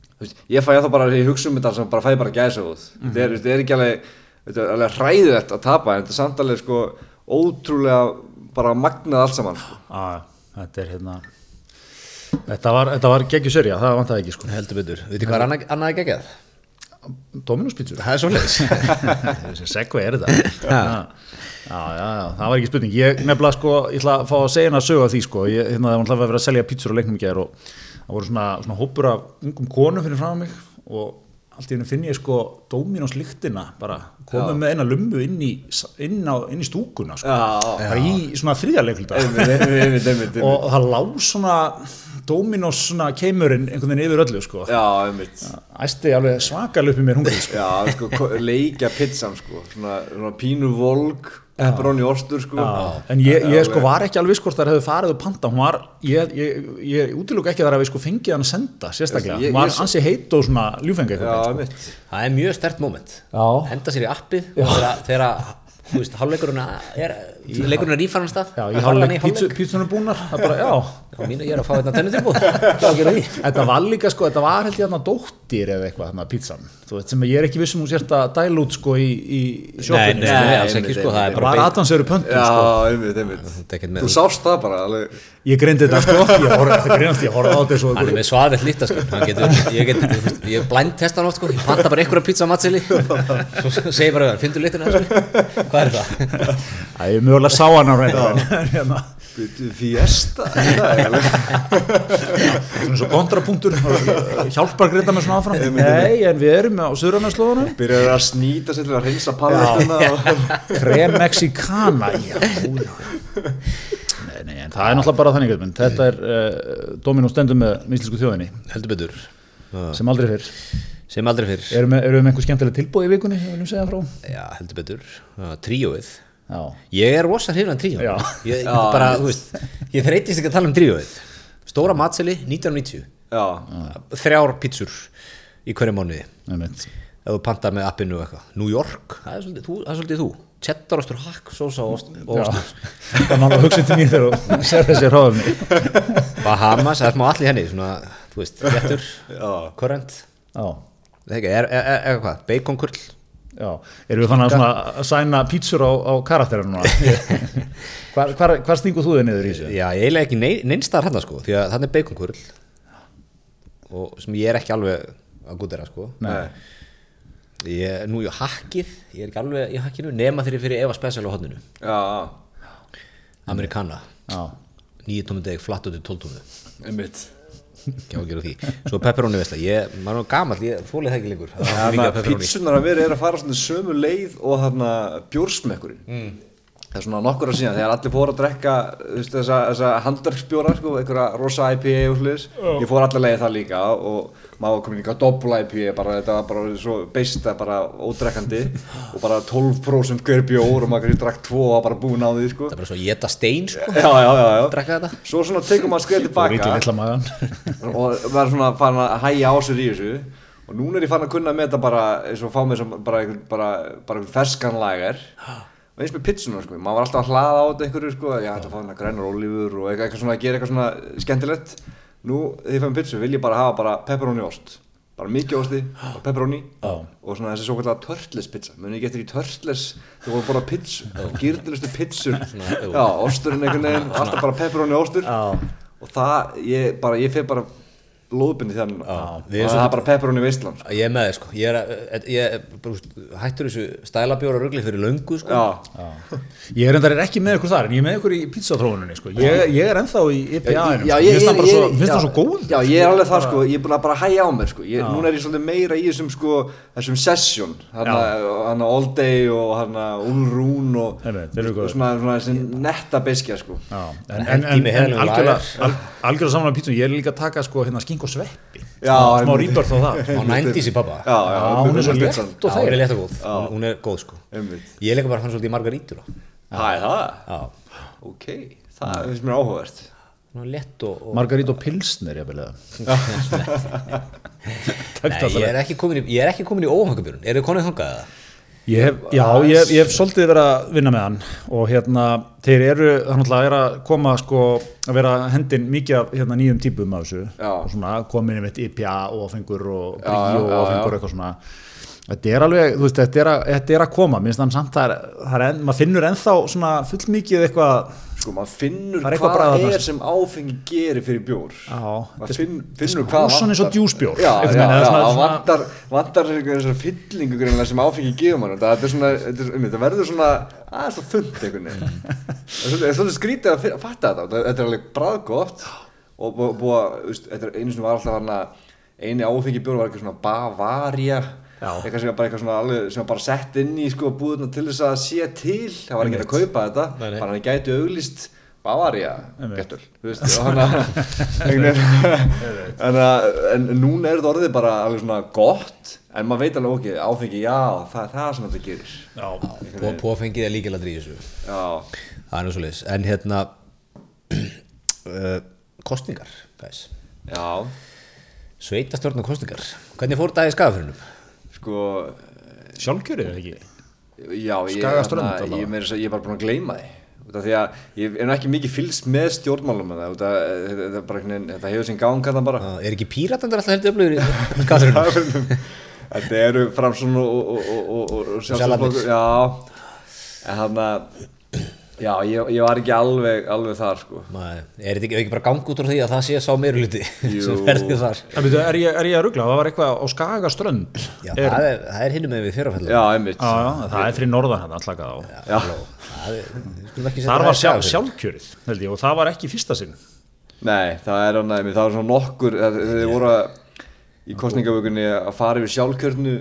þú veist, ég fæ að bara, þegar ég hugsa um þetta sem bara fæ bara gæsahúð þetta, er, þetta er ekki alveg, þetta er alveg hræðilegt að tapa en þetta er samt alveg sko ótrúlega bara magnað allt saman sko. Já, þetta er hérna Þetta var, þetta var geggjur serja, það vantaði ekki sko Heldur betur, veitir hvað er annað, annað geggjað? Dominus pítsur Það er svolítið. Segva er þetta já. já, já, já, það var ekki spurning Ég nefnilega sko, ég ætla að fá að segja hana að söga því sko ég, hérna, Það var alltaf að vera að selja pítsur á leiknum í gær og það voru svona, svona hópur af ungum konum fyrir fram á mig og allt í hennu finn ég sko Dominus lyktina bara komið með eina lumbu inn í, inn á, inn í stúkuna sko Já, já. bara í svona þriðarleikluta einmitt, einmitt, einmitt, einmitt. og það lág svona Dominos svona keimurinn einhvern veginn yfir öllu sko já, einmitt æsti alveg svakal upp í mér hungrið sko já, sko, ko- leikja pizzan sko svona, svona pínu volg pepperoni ostur sko en ég, ég sko var ekki alveg viss hvort þær hefðu farið og panta, hún var ég, ég, ég útilúk ekki að þær hefði sko fengið hann að senda sérstaklega, Ég- hún var ég- ansi heit og svona ljúfengi já, eitthvað einmitt Það er mjög stert moment. Já. Henda sér í appið þegar, þegar, þú veist, hálfleikurinn er, leikurinn er ífarnast af. já, ég hálfleik pítsu, pítsunum búnar það bara, já, Já, mínu, ég er að fá þetta tennu tilbúð. Hvað gerir því? þetta var líka sko þetta var held ég hann að dóttir eða eitthvað hann að pítsan, þú veit sem ég er ekki vissum hún sért að dæla út sko í, í Nei, sjoppunni nei, sko. nei, alls ekki sko, það er það bara var aðdansöru pöntun já, sko einmitt, einmitt Þetta er ekkert með þú sást það bara alveg Ég greindi þetta sko, ég horfði eftir greinast, ég horfði á þetta svo Hann er með svaðið lítaskap, hann getur, ég get, þú veist, ég blind testa hann oft sko, ég panta bara einhverja pizza á matseli, svo segi ég bara við hann, fyndu litina þessu, hvað er það? Æ, ég mögulega sá hann á reyndar "Bíddu, fiesta það er alveg Svona svo kontrapunktur, hjálpar greinda með svona áfram Nei, en við erum á Suðramennslóðunum byrjar að snýta sér til að reynsa palletina og Krem Mexicana, já, já Nei, nei, en það er náttúrulega bara þannig Guðmund. Þetta er uh, Dominó stendur með íslensku þjóðinni, Heldur betur, sem aldrei fyrr sem aldrei fyrr, Erum við, erum við með einhver skemmtileg tilbúið í vikunni, sem við viljum segja frá já, heldur betur, uh, tríóið, Já, ég er rosa hrifan tríóið, Já. ég bara, þú veist, ég þreytist ekki að tala um tríóið, stóra matseli 1990, já, þrjár pizzur í hverju mánuði, einmitt ef þú pantar með appinu og eitthvað, New York, það er svolítið þú, það er svolítið þú, Cheddarostur, Hakk, Sosa og ost- og Já. ostur. Það er náttúrulega að hugsa til mín þegar þú sér þessi hráfni Bahamas, það er smá allir henni svona, þú veist, réttur, Já. korrent Já, eða ekki, er, er, er, er hvað, baconkurl Já, erum við fann að svona að sæna pítsur á, á karakterinu núna? hvar, hvar, hvar stingur þú þig niður í þessu? já, ég eiginlega ekki nei- neins staðar hann sko, því að þannig er baconkurl og sem ég er ekki alveg að gútera sko Nei. ég, nú ég hakkið, ég er ekki alveg í hakkinu nema þeirri fyrir Eva Special á hodninu já, já. Amerikana, Já, nýju tómum deg flatt út í tóltónu, einmitt ekki á að gera því svo pepperoni veist það, ég, maður er nú gamall ég þólið það ekki lengur, það er svo mikið af Þannig að pepperoni pítsunar að vera er að fara svona sömu leið og þarna bjórsmekkurinn. það er svona nokkur að sína þegar allir fóru að drekka þú veist, þessa, þessa handverksbjóra sko, einhverja rosa IPA og hlutis ég fór allir leið það líka og maður var komin líka doppla IPA bara þetta var bara svo beista bara ódrekkandi og bara 12% hver bjór og maður kannski drakk 2 og var bara búinn á því sko. er bara svo geta stein sko, já, já, já, já. drekka þetta svo svona tekum maður skrið og ríkja tilbaka litla magan og var svona farin að hæja á sér í þessu og núna er ég farin að kunna með þetta bara eins og fá mig sem bara einhvern bara, bara einhvern ferskan lager og eins með pizzuna sko, maður var alltaf að hlaða á þetta einhverju sko, já þetta fá hérna grænar ólífur og eitthvað, eitthvað svona að gera eitthvað svona skemmtilegt nú þegar ég fæ með pizzu vil ég bara hafa bara pepperoni ost bara mikið osti og pepperoni Já. og svona þessi svo kallega törtles pizza munið ekki eftir í törtles þú voru bara pizzu, gyrtilustu pizzur Svona, jú. já, osturinn einhvern veginn og alltaf bara pepperoni og ostur Já. og það, ég bara, ég fer bara lóðbindi þannig og það við erum er bara pepperoni veistlan sko. ég er með þið sko ég, er, að- ég er, bara, þú veist, hættur þessu stælabjóra rugli fyrir löngu sko já, ég er endar ekki með ykkur þar en ég er með ykkur í pizzatróuninni sko. ég, ég er ennþá í IPA-inu já, sko. Mér finnst ég, ég, það bara ég, svo- mér finnst já, það svo góð já, ég er alveg það sko, ég er búin að bara hæja á mér sko. ég, núna er ég svolítið meira í þessum sko, þessum session hana, hana all day og hana ulrún og, Einmitt, þeir eru og góðir. svona, svona þessi netta beskja sko. Já, en, Bara en, hendi en, með en hérna heilum algjörlega, lager. al, algjörlega saman á pítsunum, ég er líka að taka sko hérna skink og sveppi, Já, smá einmitt. rýbörð á það sko. á nændís í pappa já, já, Já, hún er svo létt Já, og hún er þægileg. létt og góð, hún, hún er góð sko Einmitt. Ég er líka bara fann svolítið í margarítuna það er það, Já, ok það finnst mér áhugavert hún er létt og, og Margarít og Pilsner, ég vilja Nei, ég er ekki komin í, ég er ekki komin í óhangabjörn Eru þið konið þangað eða? Ég hef, já, ég hef, ég hef svolítið verið að vinna með hann og hérna, þeir eru, hann náttúrulega er að koma sko, að vera hendin mikið af hérna, nýjum típum af þessu Já. og svona komin einmitt IPA og áfengur og Já, já, brí og já, áfengur eitthvað svona Þetta er alveg, þú veist, þetta er að, þetta er að koma, minnst þannig samt það er, það er enn, maður finnur ennþá svona fullmikið eitthvað, sko maður finnur Það er hvað eitthvað bragð þarna, sko. er sem áfengi gerir fyrir bjór Já, þetta maður er finn, finnur smá hvað svona eins og djúsbjór, já, einhvern já, veginn, já, eða svona- það svona- vantar vantar þessar fyllingu greinlega sem áfengi gefur mann það er svona, þetta, er, um, þetta verður svona aðeins og þund einhvern veginn Mm. það er svona skrítið að, finna, að fatta þetta þetta- þetta er alveg bræðgótt og búa, búa veist, þetta er einu sem var alltaf hana eini áfengi bjór var eitthvað svona Bavaria Já. eitthvað sem var bara, eitthvað svona alveg, sem var bara sett inn í sko, búðuna til þess að sé til það var ekki að kaupa þetta Nei, nei. bara hann gæti auglist Bavaria getur, þú veist og hann að- einhvern veginn- en, að- en núna er þetta orðið bara alveg svona gott en maður veit alveg okkur, áfengi, já, það er það sem þetta gerir já, Pó- Pófengið er líkilandri í þessu já, Það er nú svo leis En hérna uh, Kostningar guys. já Sveitastjórna kostningar Hvernig fór dagið skafurinnum? sko, sjálfkjörið eða ekki? já ég, Skagaströnd þarna- allavega. ég, meira að segja- ég er bara búin að gleyma þið út af því að ég er nú ekki mikið fylgst með stjórnmálum með það, út af þetta- þetta er bara einhvern veginn- þetta hefur sinn gang að það bara Uh, er ekki píratandur alltaf heldur öflugur í skafurinnum? Kaffirnum Þetta eru Framsson og, og, og, og, og, og Sjálfstæðisflokkur. Já En hann að Já, ég, ég var ekki alveg, alveg þar sko Nei, er þetta ekki, ekki bara gang út úr því að það sé sá meiruluti sem Jú. ferði þar En veitu, Er ég, er ég að ruggla? Það var eitthvað á Skagaströnd Já, Er- það er, það er hinnum með við fyrrafællum Já, einmitt Já, já, það er fyrir norðan hérna, slaka það á. já. Þar var sjálf, sjálfkjörið, held ég, og það var ekki í fyrsta sinn. Nei, það er hann að Það var svona nokkur það- Þeir voru að, í kostningavökunni að fara yfir sjálfkjörnu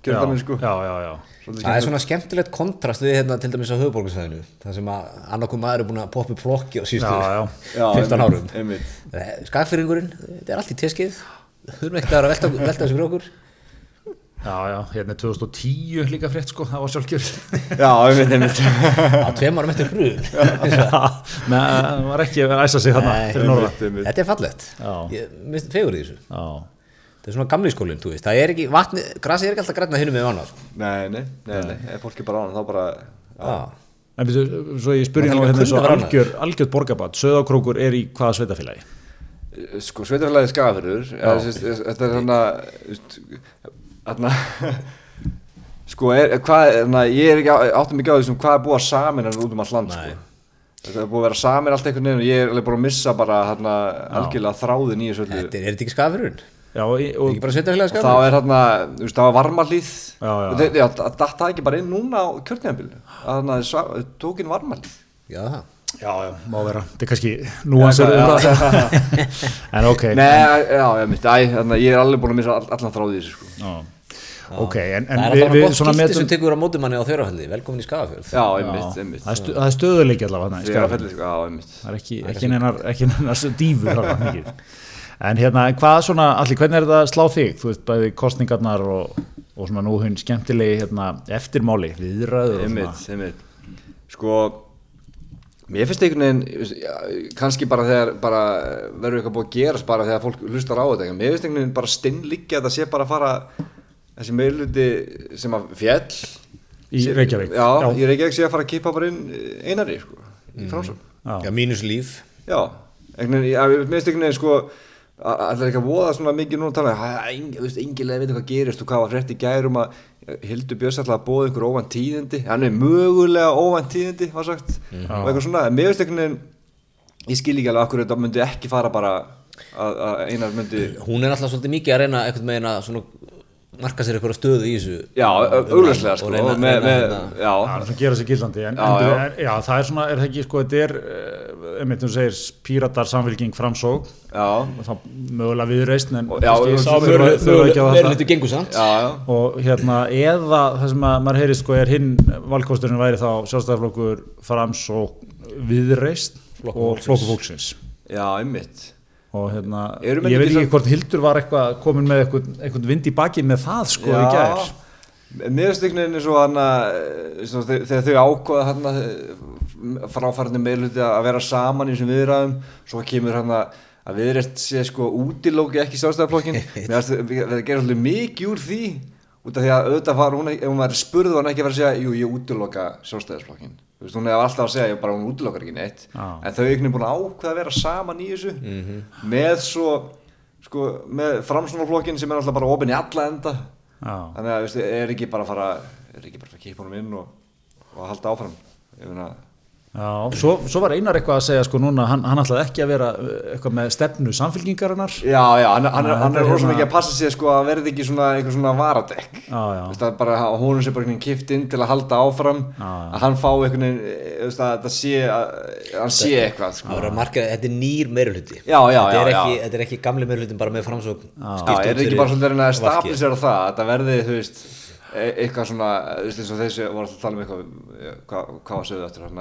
Kjörðanum já, sko Já, já, já. Það er Svolítið skemmtilegt. svona skemmtilegt kontrast við hérna til dæmis á höfuborgarsæðinu þar sem að annarkum maður er búin að poppa upp flokki á síðustu Já, já. Já, 15 árum einmitt, einmitt. Skagfyrringurinn, þetta er allt í teskið þurfum ekkert að vera að velta, velta þessu fyrir okkur Já, já, hérna er 2010 líka frétt sko, það var sjálfkjörið. Já, einmitt, einmitt á tveim árum eftir brúðun Já, menn, það var ekki að æsa sig þarna Nei. fyrir norðan. Einmitt, einmitt. Þetta er fallegt Já. Ég mist fegur í þessu Já, Þetta er svona gamli skólinn, þú veist Það er ekki, vatni, grasið er ekki alltaf grænna hinnum með annað sko. Nei, nei, nei, nei Ef fólk er bara á hann þá bara Já. en byrju, svo ég spurði Maður þarf hérna hérna ekki að svo kunna vera algjör, algjör borgabat, Söðakrókur er í hvaða sveitafélagi? sko sveitarfélagi skafurur þetta er svona þarna sko er, hvað, hana, ég er ekki á- áttum ekki á því sem hvað er búið að samin út um allt land sko. Nei. þetta er búið að vera samin allt einhvern veginn og ég er alveg búin að missa bara hana, algjörlega þráðin í þessu öllu Þetta er, er þetta ekki skafurinn? Já, í- og, Ekki bara sveitafélaga og þá skafurinn? er þarna, þú veist, það var varmalíð Já, já. og þetta það datt það ekki bara inn núna á kjörnjafnbílinu þannig að það tók inn varmalíð Já, það já, já, má vera, þetta er kannski núansir Já, já. umræða. En ok. Nei, já, já, mitt, æ, þarna, ég er alveg búin að missa all, allan þráði í þessu sko. Já. ok, en, en það er við, alltaf við bara svona gott skipti metum sem tekur á mótumanni á þjórahaldi, velkomin í Skagafjörð já, Já, einmitt, einmitt það er stu- það er stöðuleiki allavega þarna í Þegar að Skagafirði. fellið, sko, já, einmitt það er ekki, ekki neinar, ekki neinar svo dýfur þarna mikið. en hérna, en hvað svona allir, hvernig er þetta að slá þig þú veist, bæði kostningarnar og, og svona nú hún skemmtilegi hérna, eftirmáli viðræður og einmitt, einmitt sko mér finnst einhvern veginn ég veist, já, kannski bara þegar bara eh, verður eitthvað búið að gerast bara þegar fólk hlustar á þetta en mér finnst einhvern veginn bara stinnlíkja þetta sé bara að fara þessi meðluti sem að fjell Í Reykjavík. já, Já. í Reykjavík sé að fara að kippa bara inn einari sko, í framsum Já. já, mínus líf já, einhvern veginn, já, mér finnst einhvern veginn sko allir ekki að voða svona mikið núna að tala "Ha, eng- þú veist, engilega veit hvað gerist og hvað var frétt í gærum að Hildur Björns alltaf að bóða einhver óvænt tíðindi hann er mögulega óvænt tíðindi var sagt, Mhm. og eitthvað svona, en mér finnst einhvern veginn ég skil ekki alveg akkur þetta myndi ekki fara bara að, að einar myndi hún er alltaf svolítið mikið að reyna eitthvað með hérna svona marka sér eitthvað stöðu í þessu já, au- augljóslega sko og reyna, með, reyna, með, hérna- Já, það já, er svona að gera sig gildandi en, Já, en já. Er, já, það er svona, er það ekki sko, þetta er, eh, einmitt þú segir píratar samfélking framsók já, og þá mögulega viðreist en Og- já, kannski og- þurfa- þurfa- þurfa ekki á þetta. verður þetta gengur samt já, já og hérna eða það sem að maður heyri sko er hinn valkosturinn væri þá sjálfstæðarflokkur frams og viðreist Flokkur og fólksins. flokkur fólksins já, einmitt og hérna, Eru menn ég veit ekki ekki hvort Hildur var eitthvað komin með eitthvað, eitthvað vind í baki með það sko í gær miðstöknin er svo hann að eh, þegar þau ákvaða hann að fráfærandi meðluti að vera saman í þessum viðræðum svo kemur hann að að viðrætt sé sko útilóki ekki sjálfstæðarflokkin við gerum svolítið mikið úr því út af því að auðvitað var hún ekki, ef hún var spurð var hún ekki að vera að segja jú ég útiloka sjálfstæðarflokkin þú veist hún hefur alltaf að segja "Ég bara hún útilokar ekki neitt Já. en þau er einhvern veginn búin að ákveða að vera saman í þessu með svo sko með framsunarflokkin sem er alltaf bara opinn í alla enda Já. þannig að veistu, er ekki bara að fara er ekki bara að fara að kippa honum inn og, og að halda áfram ég meina Já, svo, svo var Einar eitthvað að segja sko núna, hann, hann ætlaði ekki að vera eh, eitthvað með stefnu samfélkingarinnar já já, hann, hann, Nei, er- hann þetta er er rosa hérna- mikið að passa sér sko að verði ekki svona einhver svona varadekk Já, já. Veistu, að bara að honum sé bara einhvern veginn kipt inn til að halda áfram Já, já. að hann fá einhvern veginn eh, veistu, að þetta sé að hann sé eitthvað Það sko. voru að marka, þetta er nýr meiruluti Já, já, þetta, er já, ekki, já. þetta er ekki gamli meirulutin bara með framsókn já, er þetta ekki bara svolítið að reyna að stabilisera það að þetta verði þú veist e- eitthvað svona þú veist eins og þessi voru alltaf að tala um eitthvað eh, hvað hvað var sögðu eftir hann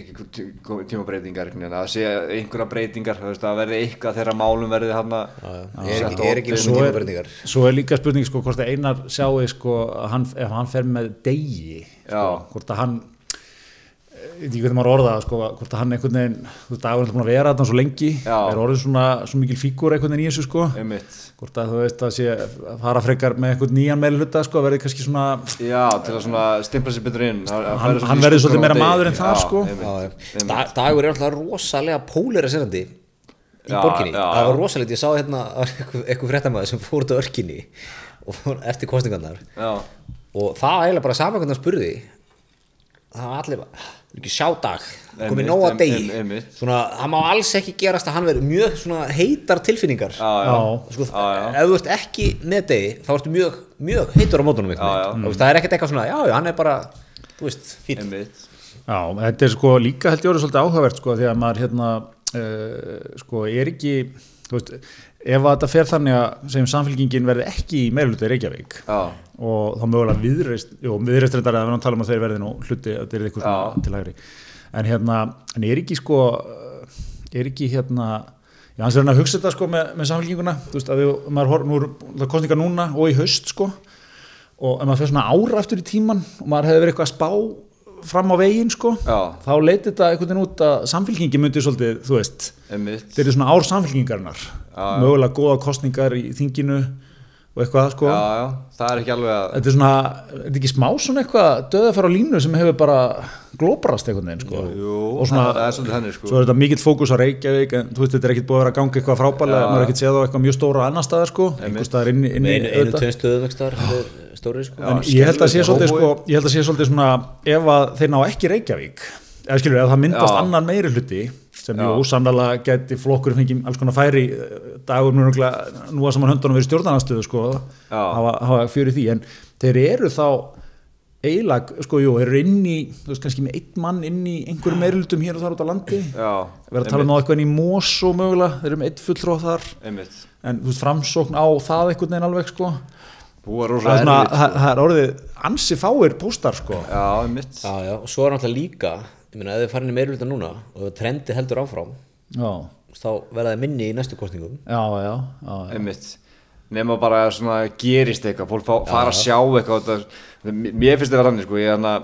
ekki tí- kom- tímabreitingar einhvern veginn, að það sé einhverja breytingar þú veist að verði eitthvað þegar málum verði hann er ekki, er ekki um- svo búin er, tímabreytingar svo er líka spurning sko hvort að Einar sjáu sko að hann, ef hann fer með degi sko, Já. hvort að hann eh, ég veit ekki hvernig maður orða það, sko, hvort að hann einhvern veginn þú veist dagurinn er búin að vera þarna svo lengi Já. er orðin svona svo mikil fígur einhvern veginn í þessu sko einmitt hvort að þú veist að sé að fara frekar með einhvern nýjan meðl hluta sko verði kannski svona já til að svona stimpla sér betur inn að- að Hann- færa sig hann í verður skuggann svolítið á meira degi. maður en það, Já, sko. einmitt, Já, já. einmitt. Da- Dagur er alltaf rosalega pólariserandi í Já, borginni, já, það var já. rosalegt ég sá hérna það var einhver einhver fréttamaður sem fór út á örkinni og fór eftir kostingarnar já og það var eiginlega bara saman hvernig hann spurði það var allir bara, "Vil ekki sjá dag komið Einmitt, nóg að ein- ein- degi einmitt. svona, það má alls ekki gerast að hann verið mjög svona heitar tilfinningar já já Já. sko, Já, já. ef þú ert ekki með degi þá ertu mjög, mjög heitur á mótunum já, Já, já. það er ekkert eitthvað svona, já, já, hann er bara þú veist, fín einmitt Já, þetta er sko líka held ég orðið svolítið áhugavert sko því að maður hérna uh, sko er ekki þú veist, ef að þetta fer þannig að segjum samfélkingin verði ekki í meðlutu í Reykjavík já og þá mögulega viðreist jú, viðreist reyndar að við erum að tala um að þeir verði nú hluti að þeir eru eitthvað svona til hægri en hérna, en er ekki sko eh, er ekki hérna já, hans er hann að hugsa þetta sko með, með samfélkinguna þú veist, að þú, maður horf, nú er það kostningar núna og í haust sko og ef maður fer svona ára aftur í tíman og maður hefði verið eitthvað að spá fram á veginn sko, Já. þá leiti þetta einhvern veginn út að samfélkingi myndi svolítið, þú veist einmitt þetta eru svona ár samfélkingarinnar mögulega góða kostningar í þinginu og eitthvað sko já já það er ekki alveg að þetta er svona, er þetta ekki smá svona eitthvað döðafæra línu sem hefur bara glóbrast einhvern veginn sko Jú, og svona, það- það er svolítið þannig, sko. svo er þetta mikill fókus á Reykjavík en þú veist þetta er ekkit búið að vera að ganga eitthvað frábælega maður er ekkit séð á eitthvað mjög stóra annar staðar sko einhver staðar inn, inn með í einu, einu auðvitað. tveim stöðum ekki staðar, þetta er stóri sko. en ég held að sé skelfilegt. svolítið sko ég held að sé svolítið svona ef að þeir ná ekki Reykjavík eða skilur, ef það myndast Já. annan meiri hluti sem Já. jú, sannlega geti flokkur fengið alls konar færi eh, dagur nú örugglega- nú að saman höndunum verið stjórnarnastöðu sko, Já. hafa, hafa fyrir því en þeir eru þá eiginlega, sko, jú, þeir eru inn í þú veist, kannski með einn mann inn í einhverjum meiri hlutum hér og þar út á landi já verða að tala um á eitthvað inn í mós og mögulega þeir eru með einn fulltróð þar einmitt en þú veist, framsókn á það einhvern veginn alveg sko hún var rosa það er svona- erfið það- það er orðið ansi fáir póstar sko já, mitt já, já, og svo er náttúrulega líka ég meina, ef þið farin í meiruluta núna og ef trendi heldur áfram já, þá verða þið minni í næstu kostningum já, já, já, já. einmitt nema bara að svona gerist eitthvað fólk fá, fara að sjá eitthvað þetta, mér finnst þetta verðan sko, ég þannig að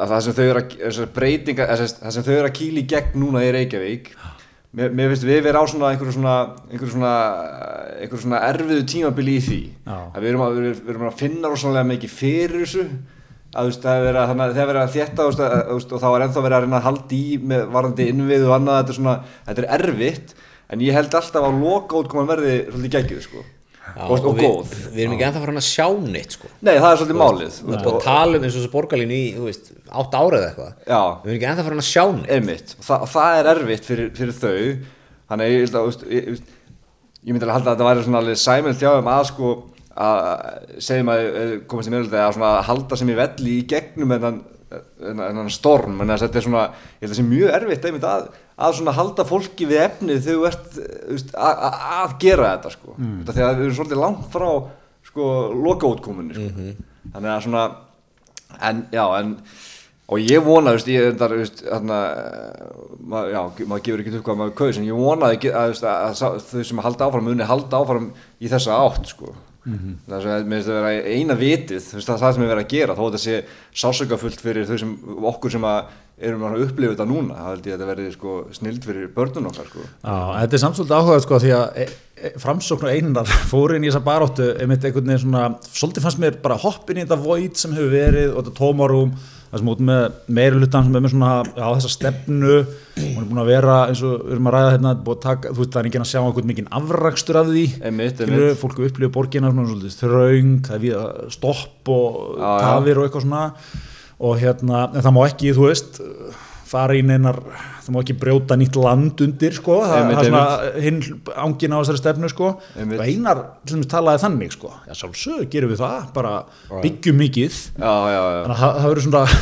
að það sem þau eru að þessar breytingar, eða sem sagt, það sem þau eru að kýla í gegn núna í Reykjavík mér, mér finnst við vera á svona einhverju svona einhverju svona, einhverju svona erfiðu tímabili í því Já. að við erum að, við, við erum að finna rosalega mikið fyrir þessu að þú veist, það er verið að, þannig að það er verið að þétta þú veist, að, þú veist, og þá er ennþá verið að reyna að halda í með varandi innvið og annað þetta er svona, þetta er erfitt en ég held alltaf að loka útkoman verði svolítið geggjuð sko já, og, og við, góð við erum ekki ennþá farin að sjá neitt sko. nei það er svolítið málið það er búin að tala um eins og þessu borgarlínu í þú veist, átt árið eitthvað Já. við erum ekki ennþá farin að sjá neitt einmitt, og það, og það er erfitt fyrir, fyrir þau þannig að ég, held að, þú veist, ég, þú veist, ég myndi alveg halda að þetta væri svona alveg sæmilt hjá um að sko að segjum að eh, komast í meðlum að svona halda sem í velli í gegnum þennan þennan- þennan storm en þetta er svona, ég held að það sé mjög erfitt einmitt að, að svona halda fólki við efnið þegar þú ert þú veist, að, að, að gera þetta sko mm. þegar við erum svolítið langt frá sko lokaútkomunni sko. þannig að svona en já, en og ég vona, þú veist, ég þar, þú veist, þarna mað, já, maður gefur ekki upp hvað maður kaus en ég vona að, að, að, að sá- þau sem halda áfram muni halda áfram í þessa átt sko. mm -hmm. Mhm. það sem mér finnst að vera eina vitið þú veist, það, það sem er verið að gera, þó að þetta sé sásökafullt fyrir þau sem, okkur sem að erum að upplifa þetta núna þá held ég að þetta verði sko, snild fyrir börnun okkar sko. Já, þetta er samt svolítið áhugað sko því að e, e, framsókn og einar fóru inn í þessa baróttu einmitt einhvern veginn svona, svolítið fannst mér bara hoppin í þetta void sem hefur verið og þetta tómarúm, það sem út með meiri hlutan sem er með svona á þessa stefnu hún er búin að vera eins og við erum að ræða hérna, búið að taka, þú veist það er enginn að sjá einhvern mikinn afrakstur af því Einmitt, Skilurðu, einmitt. fólk upplifu borgina svona svolítið þraung, það er við að stopp og Já, já. tafir og eitthvað svona og hérna, en það má ekki, þú veist fara í neinar, það má ekki brjóta nýtt land undir, sko, það, Einmitt, það er svona hinn ángin á þessari stefnu, sko Einmitt. og einar, til dæmis, talaði þannig, sko já, sjálfsög, gerum við það, bara byggjum mikið já, já, já, þannig að það- það verður svona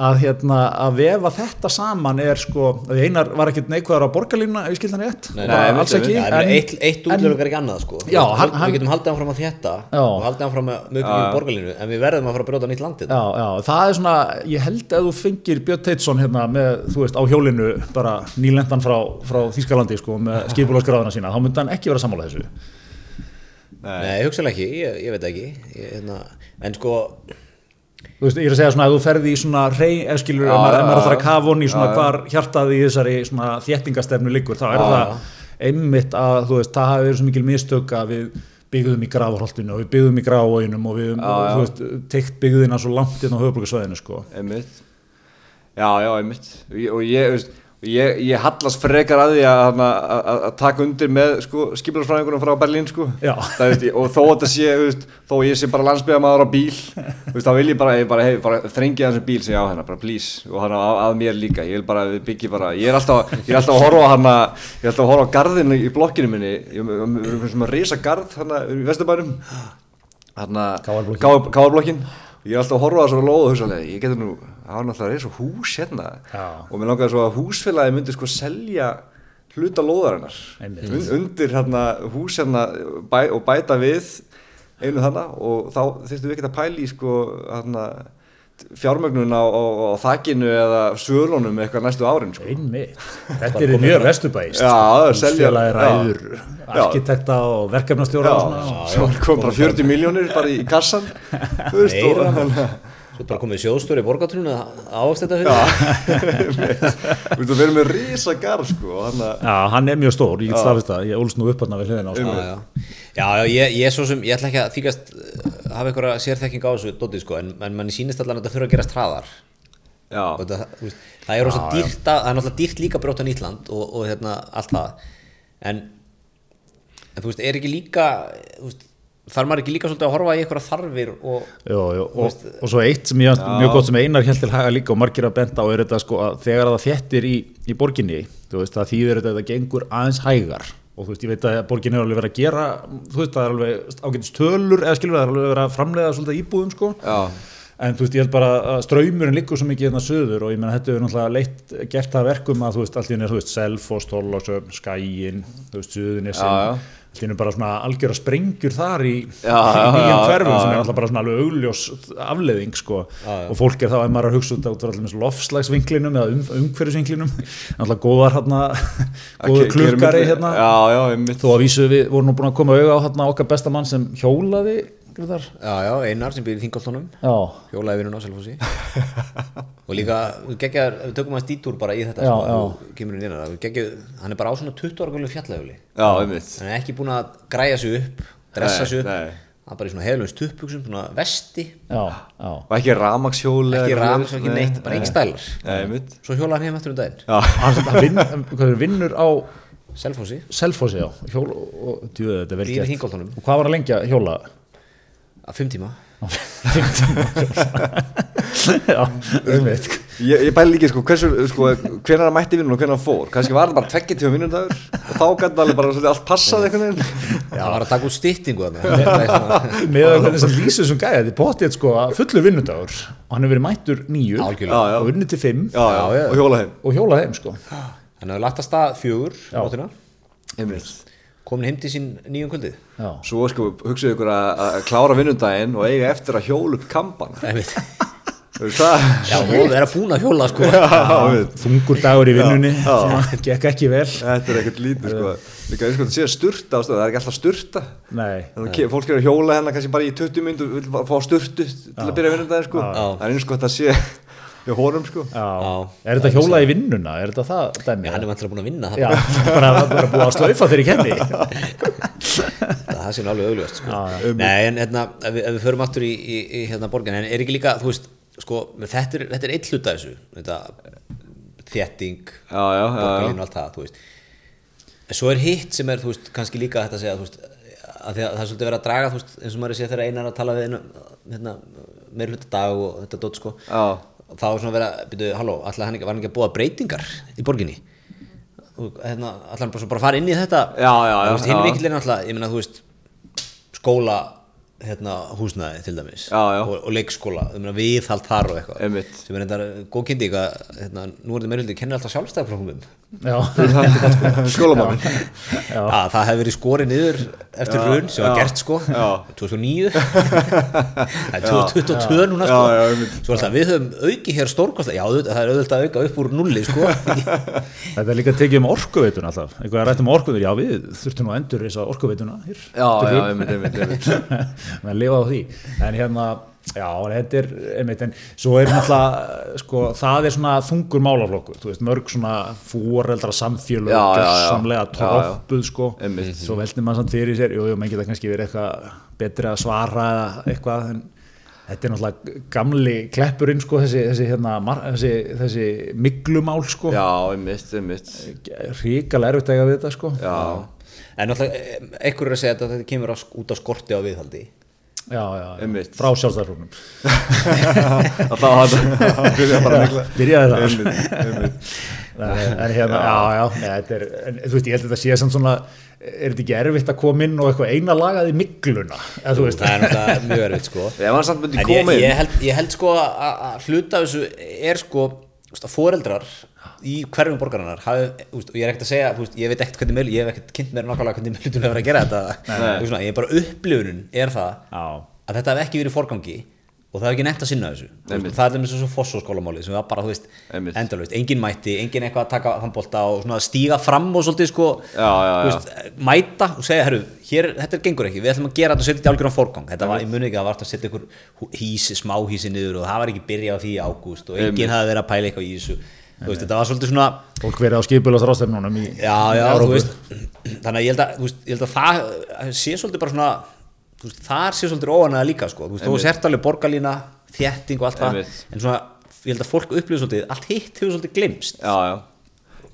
að, hérna, að vefa þetta saman er sko, að því einar var ekkert neikvæðar á borgarlínuna, ef ég skildi hann rétt Nei, Og bara nei, alls einmitt, ekki Já, ég meina, eitt, eitt en- útlöfum er ekki annað sko. Já, Við- hann- hann- við getum haldið áfram að þetta Já. og haldið áfram að mögum í borgarlínu en við verðum að fara að brjóta nýtt landið Já, já, það er svona, ég held að þú fengir Björn Teitsson hérna með, þú veist, á hjólinu bara nýlendan frá, frá Þýskalandi sko, með skipulagsgráðuna sína, þá myndi hann ekki vera sammála þessu. Nei, hugsaðlega ekki, ég, ég veit ekki ég, hérna, en sko, Þú veist, ég er að segja svona, ef þú ferði í svona reyn, ef skilur, Já, ef maður ef maður já, ætlar að já. kafa honni í svona hvar hjartaði í þessari svona þéttingastefnu liggur, þá er Já, já. það einmitt að, þú veist, það hafi verið svo mikil mistök að við byggðum í grafholtinu og við byggðum í grafóinum og við, já. þú veist, teikt byggðina svo langt inn á höfubrukarsvæðinu, sko. einmitt já, já, einmitt og ég, og ég, veist, ég, ég hallast frekar að því að, þarna, að, að- að taka undir með sko, skipularsfræðingunum frá Berlín sko. Já. það, veist, ég- og þó að þetta sé veist, þó ég sé bara landsbyðamaður á bíl veist, þá vil ég bara, ég bara, hey, bara þrengi þessum bíl sem ég á hennar, bara please og hann að, að mér líka, ég vil bara að við byggjum bara ég er alltaf, ég er alltaf að horfa á hann ég er alltaf að horfa á garðinu í blokkinu minni ég við erum með svona risa garð hann í Vesturbænum Káarblokkin. Káarblokkin ég er alltaf að horfa á þessu lóðu hugsalega ég getur nú, það var náttúrulega reysa hús hérna Já. og mér langaði svo að húsfélagi myndi sko selja hluta lóðarinnar Einmitt. Un, undir hérna hús hérna bæ, og bæta við einu þarna og þá þyrftum við ekki að pæla í sko hérna fjármögnun á, á, á þakinu eða sölunum eitthvað næstu árin sko. Einmitt, þetta er mjög vesturbæist Já, selja- Húsfélagi ræður, Já. arkitekta og verkefnastjóra Já, og svona. svo kom bara 40 miljónir bara í kassan þú veist og Meira. þannig að- svo bara komið sjóðstöru í borgartúnu ávast þetta hug Þú veist, við erum með risa garð sko og þannig að Já, hann er mjög stór, ég get staðfist það, ég ólst nú upp hann við hliðina á Já, sko. já, já, já ég, ég, er svo sem, ég ætla ekki að þykast uh, hafa einhverja sérþekking á þessu dótið sko, en, en manni sýnist allan að þetta þurfa að gerast hraðar Og Já, þetta, þú veist, það er rosa dýrt að, það er náttúrulega dýrt líka að brjóta nýtt land og, og hérna allt það en, en þú veist, er ekki líka þú veist, þarf maður ekki líka svolítið að horfa í einhverja þarfir og Jó, jó, og, og svo eitt sem ég fannst mjög gott sem Einar held til haga líka og margir að benda á er þetta sko að þegar það þéttir í, í borginni, þú veist, það þýðir þetta að þetta gengur aðeins hægar og þú veist, ég veit að borginni er alveg verið að gera, þú veist, það er alveg ágætist tölur eða skilur það er alveg verið að framleiða svolítið af íbúðum sko já, en þú veist, ég held bara að ströymurinn liggur svo mikið hérna söður og ég meina þetta er náttúrulega leitt, gert það að verkum að þú veist, allt í henni er þú veist, Selfoss, Þorlásöfn, Skæin þú veist, Suðunissin, Já, já. allt í henni bara svona algjör að sprengjur þar í, Já, já, í nýjum já, hverfum sem er já, já. náttúrulega bara svona alveg augljós afleðing sko, og fólk er þá ef maður er að hugsa út á út frá allir lofslagsvinklinum eða um, umhverfisvinklinum, náttúrulega góðar hérna, góður klukkari hérna já, já, einmitt þó að vísu við vorum nú búin að koma auga á hérna, okkar besta mann sem hjólaði Grétar. já, já, Einar sem býr í Þingoltónum já, hjólaði vinnun á Selfossi og líka, við geggjar, við tökum að stítúr bara í þetta Já, svona, já. þú kemur inn innar, við geggjar, hann er bara á svona 20 ára gullu fjallahjóli já, einmitt hann er ekki búin að græja sig upp dressa Nei, sig upp, nei. hann er bara í svona heilum stuppuksum, svona vesti já, já og ekki ramakshjól ekki rams, ekki neitt, bara ekki stælar einmitt svo hjóla hann heim eftir um daginn, já, hann sem þetta vinn, hvað er, vinnur á Selfossi Selfossi á hjól og djúðu þetta er vel Býr í gert Þingholtunum. og hvað var að lengja hjóla að fimm tíma já, umveit ég, ég bæli líka sko, hversu, sko hvernig hann mætti vinnun og hvernig hann fór kannski var það bara tveggja tíma vinnun dagur og þá gæti alveg bara svolítið allt passað einhvern veginn það var að taka út styttingu þarna með að hvernig sem lýsir sem gæði þetta er potið sko að fullur vinnudagur og hann hefur verið mættur nýju Algjörlega. Já, já. og vinnur til fimm já, já, Já, já. og hjóla heim og hjóla heim sko hann hefur lagt að stað fjögur nóttina, einmitt komin heim til sín nýjum kvöldið já, svo sko, hugsaðu ykkur að að klára vinnundaginn og eiga eftir að hjóla upp kampan Einmitt. þú veist það já, og vera búin að hjóla sko já, já, þungur dagur í vinnunni Já, já. sem gekk ekki vel Þetta er ekkert lítið sko Líka eins og þetta sé að sturta á stöðu, það er ekki alltaf sturta nei, Þannig að fólk er að hjóla hennar kannski bara í 20 mynd og vil bara fá sturtu til að byrja að vinna þetta sko Já. Það er eins og þetta sé hjá honum sko já. Já. er þetta hjóla í vinnuna, er þetta það dæmi? hann er vantilega búin að vinna Já, það bara, bara búið að slaufa þeirri kenni það það sé nú alveg augljóðast sko. Já, Nei, en hérna, ef, við- ef við förum aftur í, í, í hérna borgin, en er ekki líka, þú veist sko, þetta er, þetta er eitt hluta þessu þetta, þétting Já, já, já, já. borgarlínu og allt það, þú veist en svo er hitt sem er, þú veist, kannski líka þetta að segja, þú veist, að því að það er svolítið verið að draga, þú veist, eins og maður sé þegar einar að tala við einu, hérna, meir hluta dag og þetta dótt, sko Já. þá er svona verið að, byrju, halló, allar hann ekki, var hann ekki að búa breytingar í borginni og hérna, allar hann bara, svo bara að fara inn í þetta Já, já, já, Þú veist, hinn já. vinkillin alltaf, ég meina, þú veist skóla, hérna, húsnaði til dæmis, Já, já. Og, og leikskóla ég meina, viðhald þar og eitthvað Einmitt. sem er þetta góð kynning að hérna, nú er þetta meirhildi, kennir alltaf sjálfstæðarflokkumum Já, Skólamann Já. að Ah, það hefði verið skorið niður eftir Já, hrun sem var já, gert sko já. 2009 það er 2022 núna sko Já, já, einmitt. svo alltaf við höfum auki hér stórkosta já auðvitað, það er auðvitað að auka upp úr nulli sko þetta er líka tekið um orkuveituna alltaf eitthvað að rættum orkuveituna, já við þurftum nú að endur þess að orkuveituna hér Já, já, einmitt, einmitt, einmitt menn lifa á því en hérna, já, þetta er einmitt, en svo er náttúrulega sko, það er svona þungur málaflokkur þú veist, mörg svona fóreldra samfélög Já, já, já. gersamlega Já, já. troppuð sko, Einmitt. svo veldi maður samt fyrir sér jú, jú, menn geta kannski verið eitthvað betri að svara eða eitthvað, en Þetta er náttúrulega gamli kleppurinn sko, þessi, þessi, hérna, mar, þessi, þessi miglumál sko, Já, einmitt, einmitt ríkala erfitt að eiga við þetta sko. Já, en alltaf einhver er að segja þetta að þetta kemur á, út af skorti á viðhaldi já, já, já. Einmitt. frá sjálfstæðarflóknum. að það var þetta Byrja bara að negla Byrjaði það. Einmitt, einmitt en en hérna, já, já, já þetta er, en, þú veist, ég held að þetta sé samt svona er þetta ekki erfitt að koma inn og eitthvað eina lagað í migluna, eða þú veist það er náttúrulega mjög erfitt sko Ef hann samt myndi en ég, koma ég, inn held, ég held sko að- að að hluta af þessu er sko þú veist, að foreldrar í hverfum borgarinnar hafi, úst, og ég er ekkert að segja, úst, ég veit ekkert hvernig meðl, ég hef ekkert kynnt mér nákvæmlega hvernig meðlutum hefur að gera þetta Þú veist svona, ég er bara upplifunin er það Já. að þetta hef ekki verið í forgangi og það hef ekki nefnt að sinna þessu Þú veist, Einmitt. og það er þeim eins og svo fossóskólamáli sem var bara, þú veist, Einmitt. endalaust engin mætti, engin eitthvað að taka handbólta og svona stíga fram og svolítið sko Já, já, þú já. veist, mæta og segja, herru, hér, þetta gengur ekki við ætlum að gera þetta og setja þetta í algjöran forgang þetta var, ég muni ekki, það var alltaf að setja ykkur hú- hísi, smáhísi niður og það var ekki byrja á því í ágúst og enginn hafði verið að pæla eitthvað í þessu þú veist, þetta var svolítið svona fólk verið á skipulast rástefnunum í já, já, í þú Evrópu. veist þannig að ég held að, þú veist, ég held að það það sé svolítið bara svona þú veist, þar sé svolítið óanæða líka, sko þú veist, þú sért alveg borgarlína, þétting og allt það Einmitt. en svona, ég held að fólk upplýðu svolítið, allt hitt hefur svolítið glimst Já, já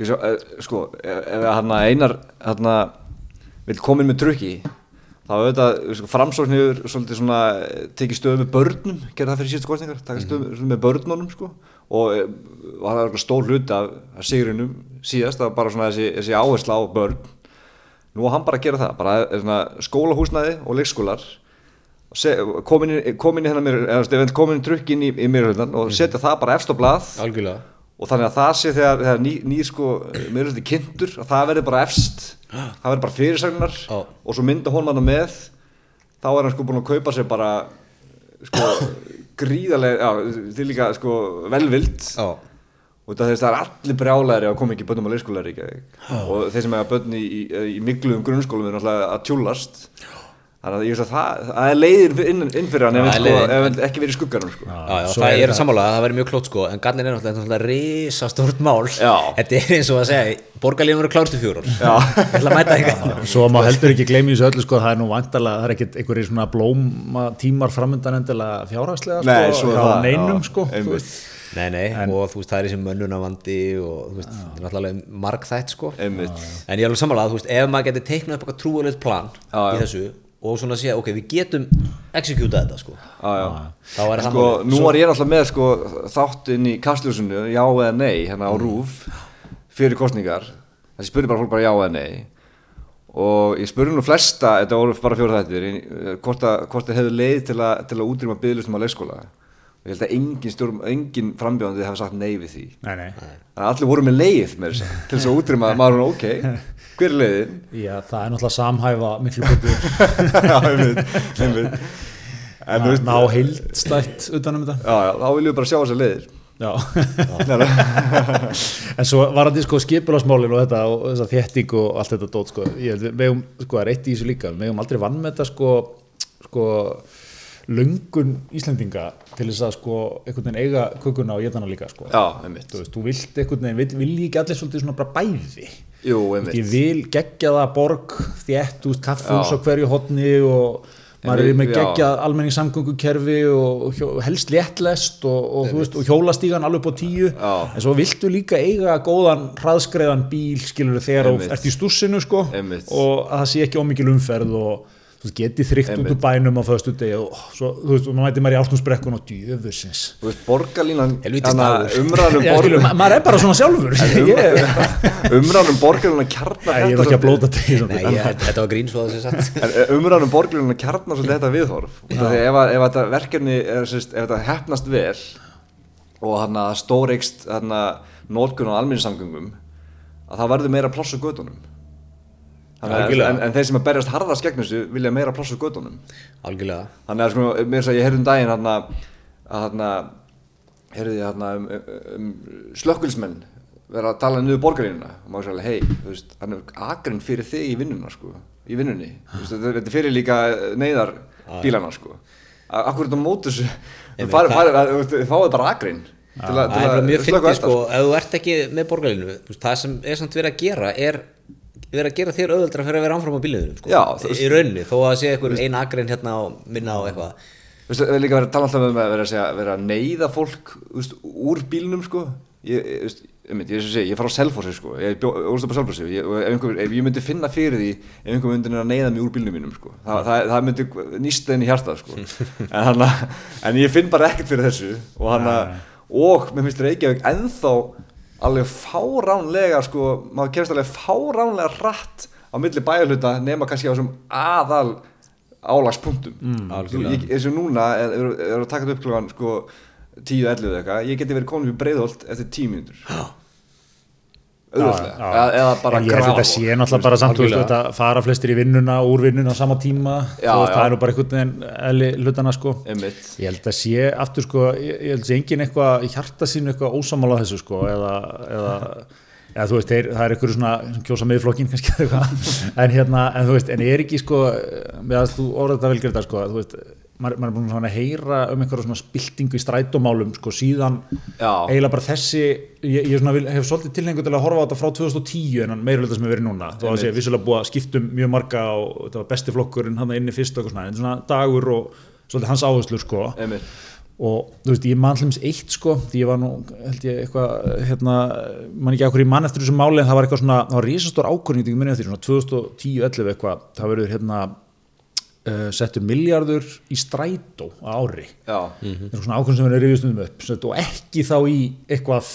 Ég svo, eh, sko, ef ef hann að Einar hann vil koma inn með trukki þá auðvitað, sko, framsókn hefur svolítið svona eh, tekið stöðu með börnum gerði það fyrir síðustu kostningar, taka stöðu mm með börnunum sko, og eh, var það eitthvað stór hlut af af sigrinum síðast, það var bara svona þessi, þessi áhersla á börn nú á hann bara að gera það, bara eh, svona, skólahúsnaði og leikskólar se- komin í, komin í hennar mér, eða, þú veist, komin í drukkin í, í mérhundan og setja það bara efst á blað algjörlega og þannig að það sé þegar, þegar nýr ný, sko, meðlusti kynntur að það verður bara efst það verður bara fyrirsagnar Já. og svo mynda hún hana með þá er hann sko búin að kaupa sér bara sko gríðarlega já, því líka sko velvild Já. og það, það er allir brjálæri að koma ekki bönnum á leikskólar í Reykjavík og þeir sem hefða bönn í, í, í mikluðum grunnskólum er náttúrulega að tjúlast þannig að ég veist að það, það er leiðir inn, inn fyrir hann ef Já, hann það er sko, leiðir ef hann ekki verið í skugganum sko. Já, já, svo það er er það- sammála, það væri mjög klót sko en gallin er náttúrulega, þetta er náttúrulega risastórt mál Já. þetta er eins og að segja borgarlíðan verður klárstu fjórur Já. ég ætla að mæta eitthvað Svo má heldur ekki gleymi þessu öllu sko, það er nú vantarlega, það er ekkit einhverjir svona blóma tímar framöndan endilega fjárhagslega sko, Nei, svo er hjá það, neinum já, sko, þú einmitt. veist. nei, nei, og þú veist, það er þessi mönnunavandi og þú veist, þetta er náttúrulega margþætt sko einmitt en ég er alveg sammála, þú veist, ef maður getur teiknað upp eitthvað trúalegt plan Já, já. í þessu og svona sé, ok, við getum executa þetta sko Já, já. þá er það sko, málið. nú var ég alltaf með sko, þáttinn í kastljósunu já eða nei, hérna á RÚF fyrir kostningar, þessi spurði bara fólk bara já eða nei og ég spurði nú flesta, þetta voru bara fjóra þættir í- eh, hvort, að, hvort það hefði leið til, a, til að útrýma byggðlustum á leikskóla og ég held að engin, stjórn, engin frambjóðandi hefði sagt nei við því Nei, nei. þannig að allir voru með leið með þess að til þess að útrýma maður hún ok hver er leiðin? Já, það er náttúrulega samhæfa miklu betur já, einmitt, einmitt. En, að þú veist, ná heildstætt utanum þetta. já, já, þá viljum við bara sjá þessar leiðir Já. Nei, nei. en svo varandi sko skipularsmálin og þetta og þessa þétting og allt þetta dót sko, ég held við megum, sko, það er eitt í þessu líka við megum aldrei vann með þetta sko sko, löngun Íslendinga til þess að sko einhvern veginn eiga kökuna og getana líka sko Já, einmitt þú veist, þú vilt einhvern veginn, vil, vil ég ekki allir svolítið svona bara bæði Þú Jú, veist, ég einmitt vil geggja það borg þétt út kaffús Já. á hverju hotni og En maður við- er með já. geggja almenningssamgöngukerfi og, og hjó, helst léttlest og, og, þú veist, og hjólastígan alveg upp á tíu Já. en svo viltu líka eiga góðan hraðskreiðan bíl skilur þegar þú Einmitt. ert í stússinu sko, Einmitt. og að það sé ekki ómikil umferð og þú veist, geti þrygt út úr Einmitt. bænum á föstu degi og oh, svo, þú veist, og maður mæti maður í ártúnsbrekkun og djöfursins Þú veist, borgarlínan Helvítis maður. umræðan um Já, skilur, ma borgarlínan maður er bara svona sjálfur ég, Umræðan um borgarlínan kjarnar ég er um- þetta ekki að svolítið- blóta til nei, ég, þetta var grín svo að þessi satt En umræðan um borgarlínan kjarnar svolítið þetta viðhorf Og það er ef, að- ef þetta verkefni, er, sérst, ef þetta hefnast vel Og hann að stóreikst hann að nótkun á alminnisamgöngum Að það verður meira pláss á gödunum en, Algjörlega. en, en þeir sem að berjast harðast gegn þessu vilja meira pláss á gödunum algjörlega þannig að sko, mér þess að ég heyrði um daginn hann að hann að heyrði ég hann um, um, um slökkulsmenn vera að tala niður borgarínuna og maður sagði, hei, þú veist, hann er akrin fyrir þig í vinnuna, sko, í vinnunni Þú veist, þetta þetta er fyrir líka neyðar bílana, sko, A- akkur er þetta mót þessu, Ég þú farið- veit, farið- þú veist, þið fáið bara akrin til að, það er bara mjög slökkva fyndið elda, sko, ef þú ert ekki með borgarlinu það sem er samt verið að gera er verið að gera þér auðvöldra fyrir að vera áfram á bíliðunum sko, Já, þú veist- í rauninni, þó að sé einhver ein agrin hérna og minna á eitthvað Þú veist, það er líka verið að tala alltaf um að vera að, segja, vera að neyða fólk þú veist, úr bílnum sko ég, ég, þú veist, ég, myndi, ég, ég, ég, ég fara á selfósi sko ég úrst upp á selfósi ég, og ef, einhver, ef ég myndi finna fyrir því ef einhver myndi reyna að neyða mig úr bílnum mínum sko Þa, það, það myndi nýst þeim í hjartað sko en, hana, en ég finn bara ekkert fyrir þessu og, hana, og mér finnst Reykjavík ennþá alveg fáránlega sko maður kemst alveg fáránlega rætt á milli bæjarhluta nema kannski á þessum aðal álagspunktum mm, ég, eins og núna er, er, er að taka þetta upp klokkan sko, 10-11 eða eitthvað, ég geti verið komin við breiðholt eftir 10 mínútur Já, já. auðvitað, eða, eða bara en ég held að þetta sé náttúrulega bara samt þú veist, algjörlega. þetta fara flestir í vinnuna og úr vinnuna á sama tíma Já, þú veist, já. það er nú bara einhvern veginn eðli hlutana sko einmitt, ég held að sé aftur sko ég, ég held að sé engin eitthvað í hjarta sínu eitthvað ósamála þessu sko eða, eða, eða þú veist þeir, það er einhverju svona sem kjósa miðflokkin kannski eða eitthvað en hérna en þú veist en er ekki sko með að þú orðið þetta velgerða sko þú veist maður, maður er búin svona að heyra um einhverju svona spiltingu í strætómálum sko síðan Já. eiginlega bara þessi ég, ég svona vil, hef svolítið tilhengu til að horfa á þetta frá 2010 en meira hluta sem hefur verið núna þó að sé vissulega búið að skiptum mjög marga og þetta var besti flokkurinn hann inni fyrst og eitthvað svona en svona dagur og svolítið hans áherslur sko einmitt og þú veist ég mann hlumis eitt sko því ég var nú held ég eitthvað hérna mann ekki okkur í mann eftir þessu máli en það var eitthvað svona það var risastór ákvörning ég minni eftir svona 2010-11 eitthvað það verður hérna uh, settur miljardur í strætó á ári já, mm -hmm. svona ákvörðum sem er rifið stundum upp set, og ekki þá í eitthvað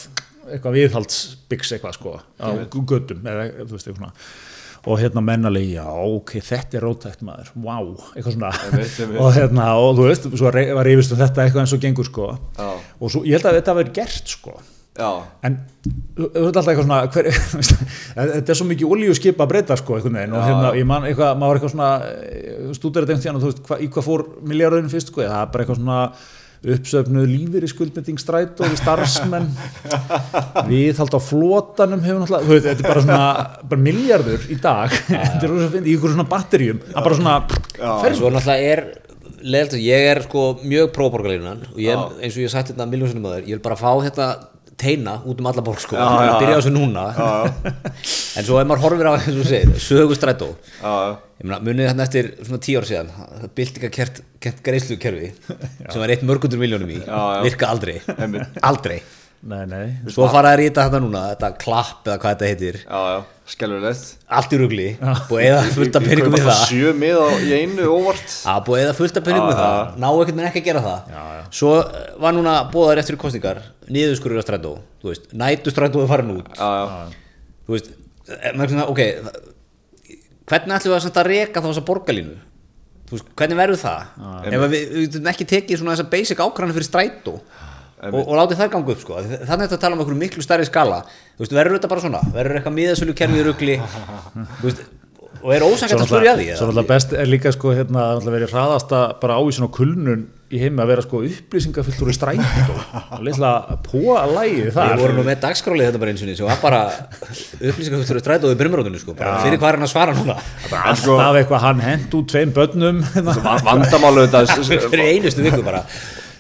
eitthvað viðhaldsbyggs eitthvað sko á gödum eða þú veist eitthvað svona og hérna mennalegi, já, ok, þetta er rótækt maður, wow, eitthvað svona Einmitt, einmitt. og hérna, og þú veist, svo rey- var reyfist um þetta eitthvað eins og gengur, sko Já. og svo, ég held að þetta verið gert, sko já, en þú þú ert alltaf eitthvað svona hver, veist, þetta er svo mikið olíuskip að breyta sko einhvern veginn og Já, hérna já. ég man eitthvað, maður var eitthvað svona eh, stúdur þetta einhvern tíðan og þú veist hva, í hvað fór miljardurinn fyrst sko, það er bara eitthvað svona uppsöfnuð lífir í skuldbending stræt og starfsmenn við á flotanum hefur náttúrulega þú veist, þetta er bara svona bara miljardur í dag, þetta er rosa fyndið, í ykkur svona batterjum, það er bara svona En svo náttúrulega er leðalt, ég er sko mjög próborgarlínan og ég, Já. eins og ég hef sagt hérna þetta miljónsinnum að þér, ég vil bara fá þetta teina út um alla borg sko, Já, ég já, byrja á já. þessu núna já, en svo ef maður horfir á eins og þú segir, sögustrætó já, ég meina, munið þarna eftir svona tíu ár síðan byltingakert kent greiðslukerfi sem var eitt mörgundur miljónum í já. virka aldrei, Einmitt. aldrei nei, nei, svo fara þær í þetta þetta núna, þetta klapp eða hvað þetta heitir, já, já, skelvilegt allt í rugli og eða fullt af peningum í það Sjö mið á, í einu óvart að búið eða fullt af peningum með Já, það ná ekkert með ekki að gera það svo eh, var núna bóðar eftir kostningar niðurskurur á strætó, þú veist nætu strætó að fara út Já, já, þú veist, eh, maður er svona, ok það- hvernig ætlum við að senda að reka þá þessa borgarlínu þú veist, hvernig verður það Ah. ef að við, við getum ekki tekið svona þessa basic ákvæðan fyrir strætó og, og látið þær ganga upp sko Af því þa- þannig er þetta að tala um einhverju miklu stærri skala þú veist, verður þetta bara svona, verður eitthvað miðasölu kerfið rugli, þú veist og er ósangætt að spurja því Svo náttúrulega best er líka sko hérna að verið hraðasta bara ávísun og kulnun í heimi að vera sko upplýsingafullur í strætó og litla póa að lægi Við þar vorum nú með dagskráli þetta bara eins og nýtt sem var bara upplýsingafullt fyrir strætóðu brimrótunni sko, bara fyrir hvað er hann að svara núna sko- alltaf eitthvað hann hent út tveim börnum hérna. vandamálu þetta fyrir einustu viku bara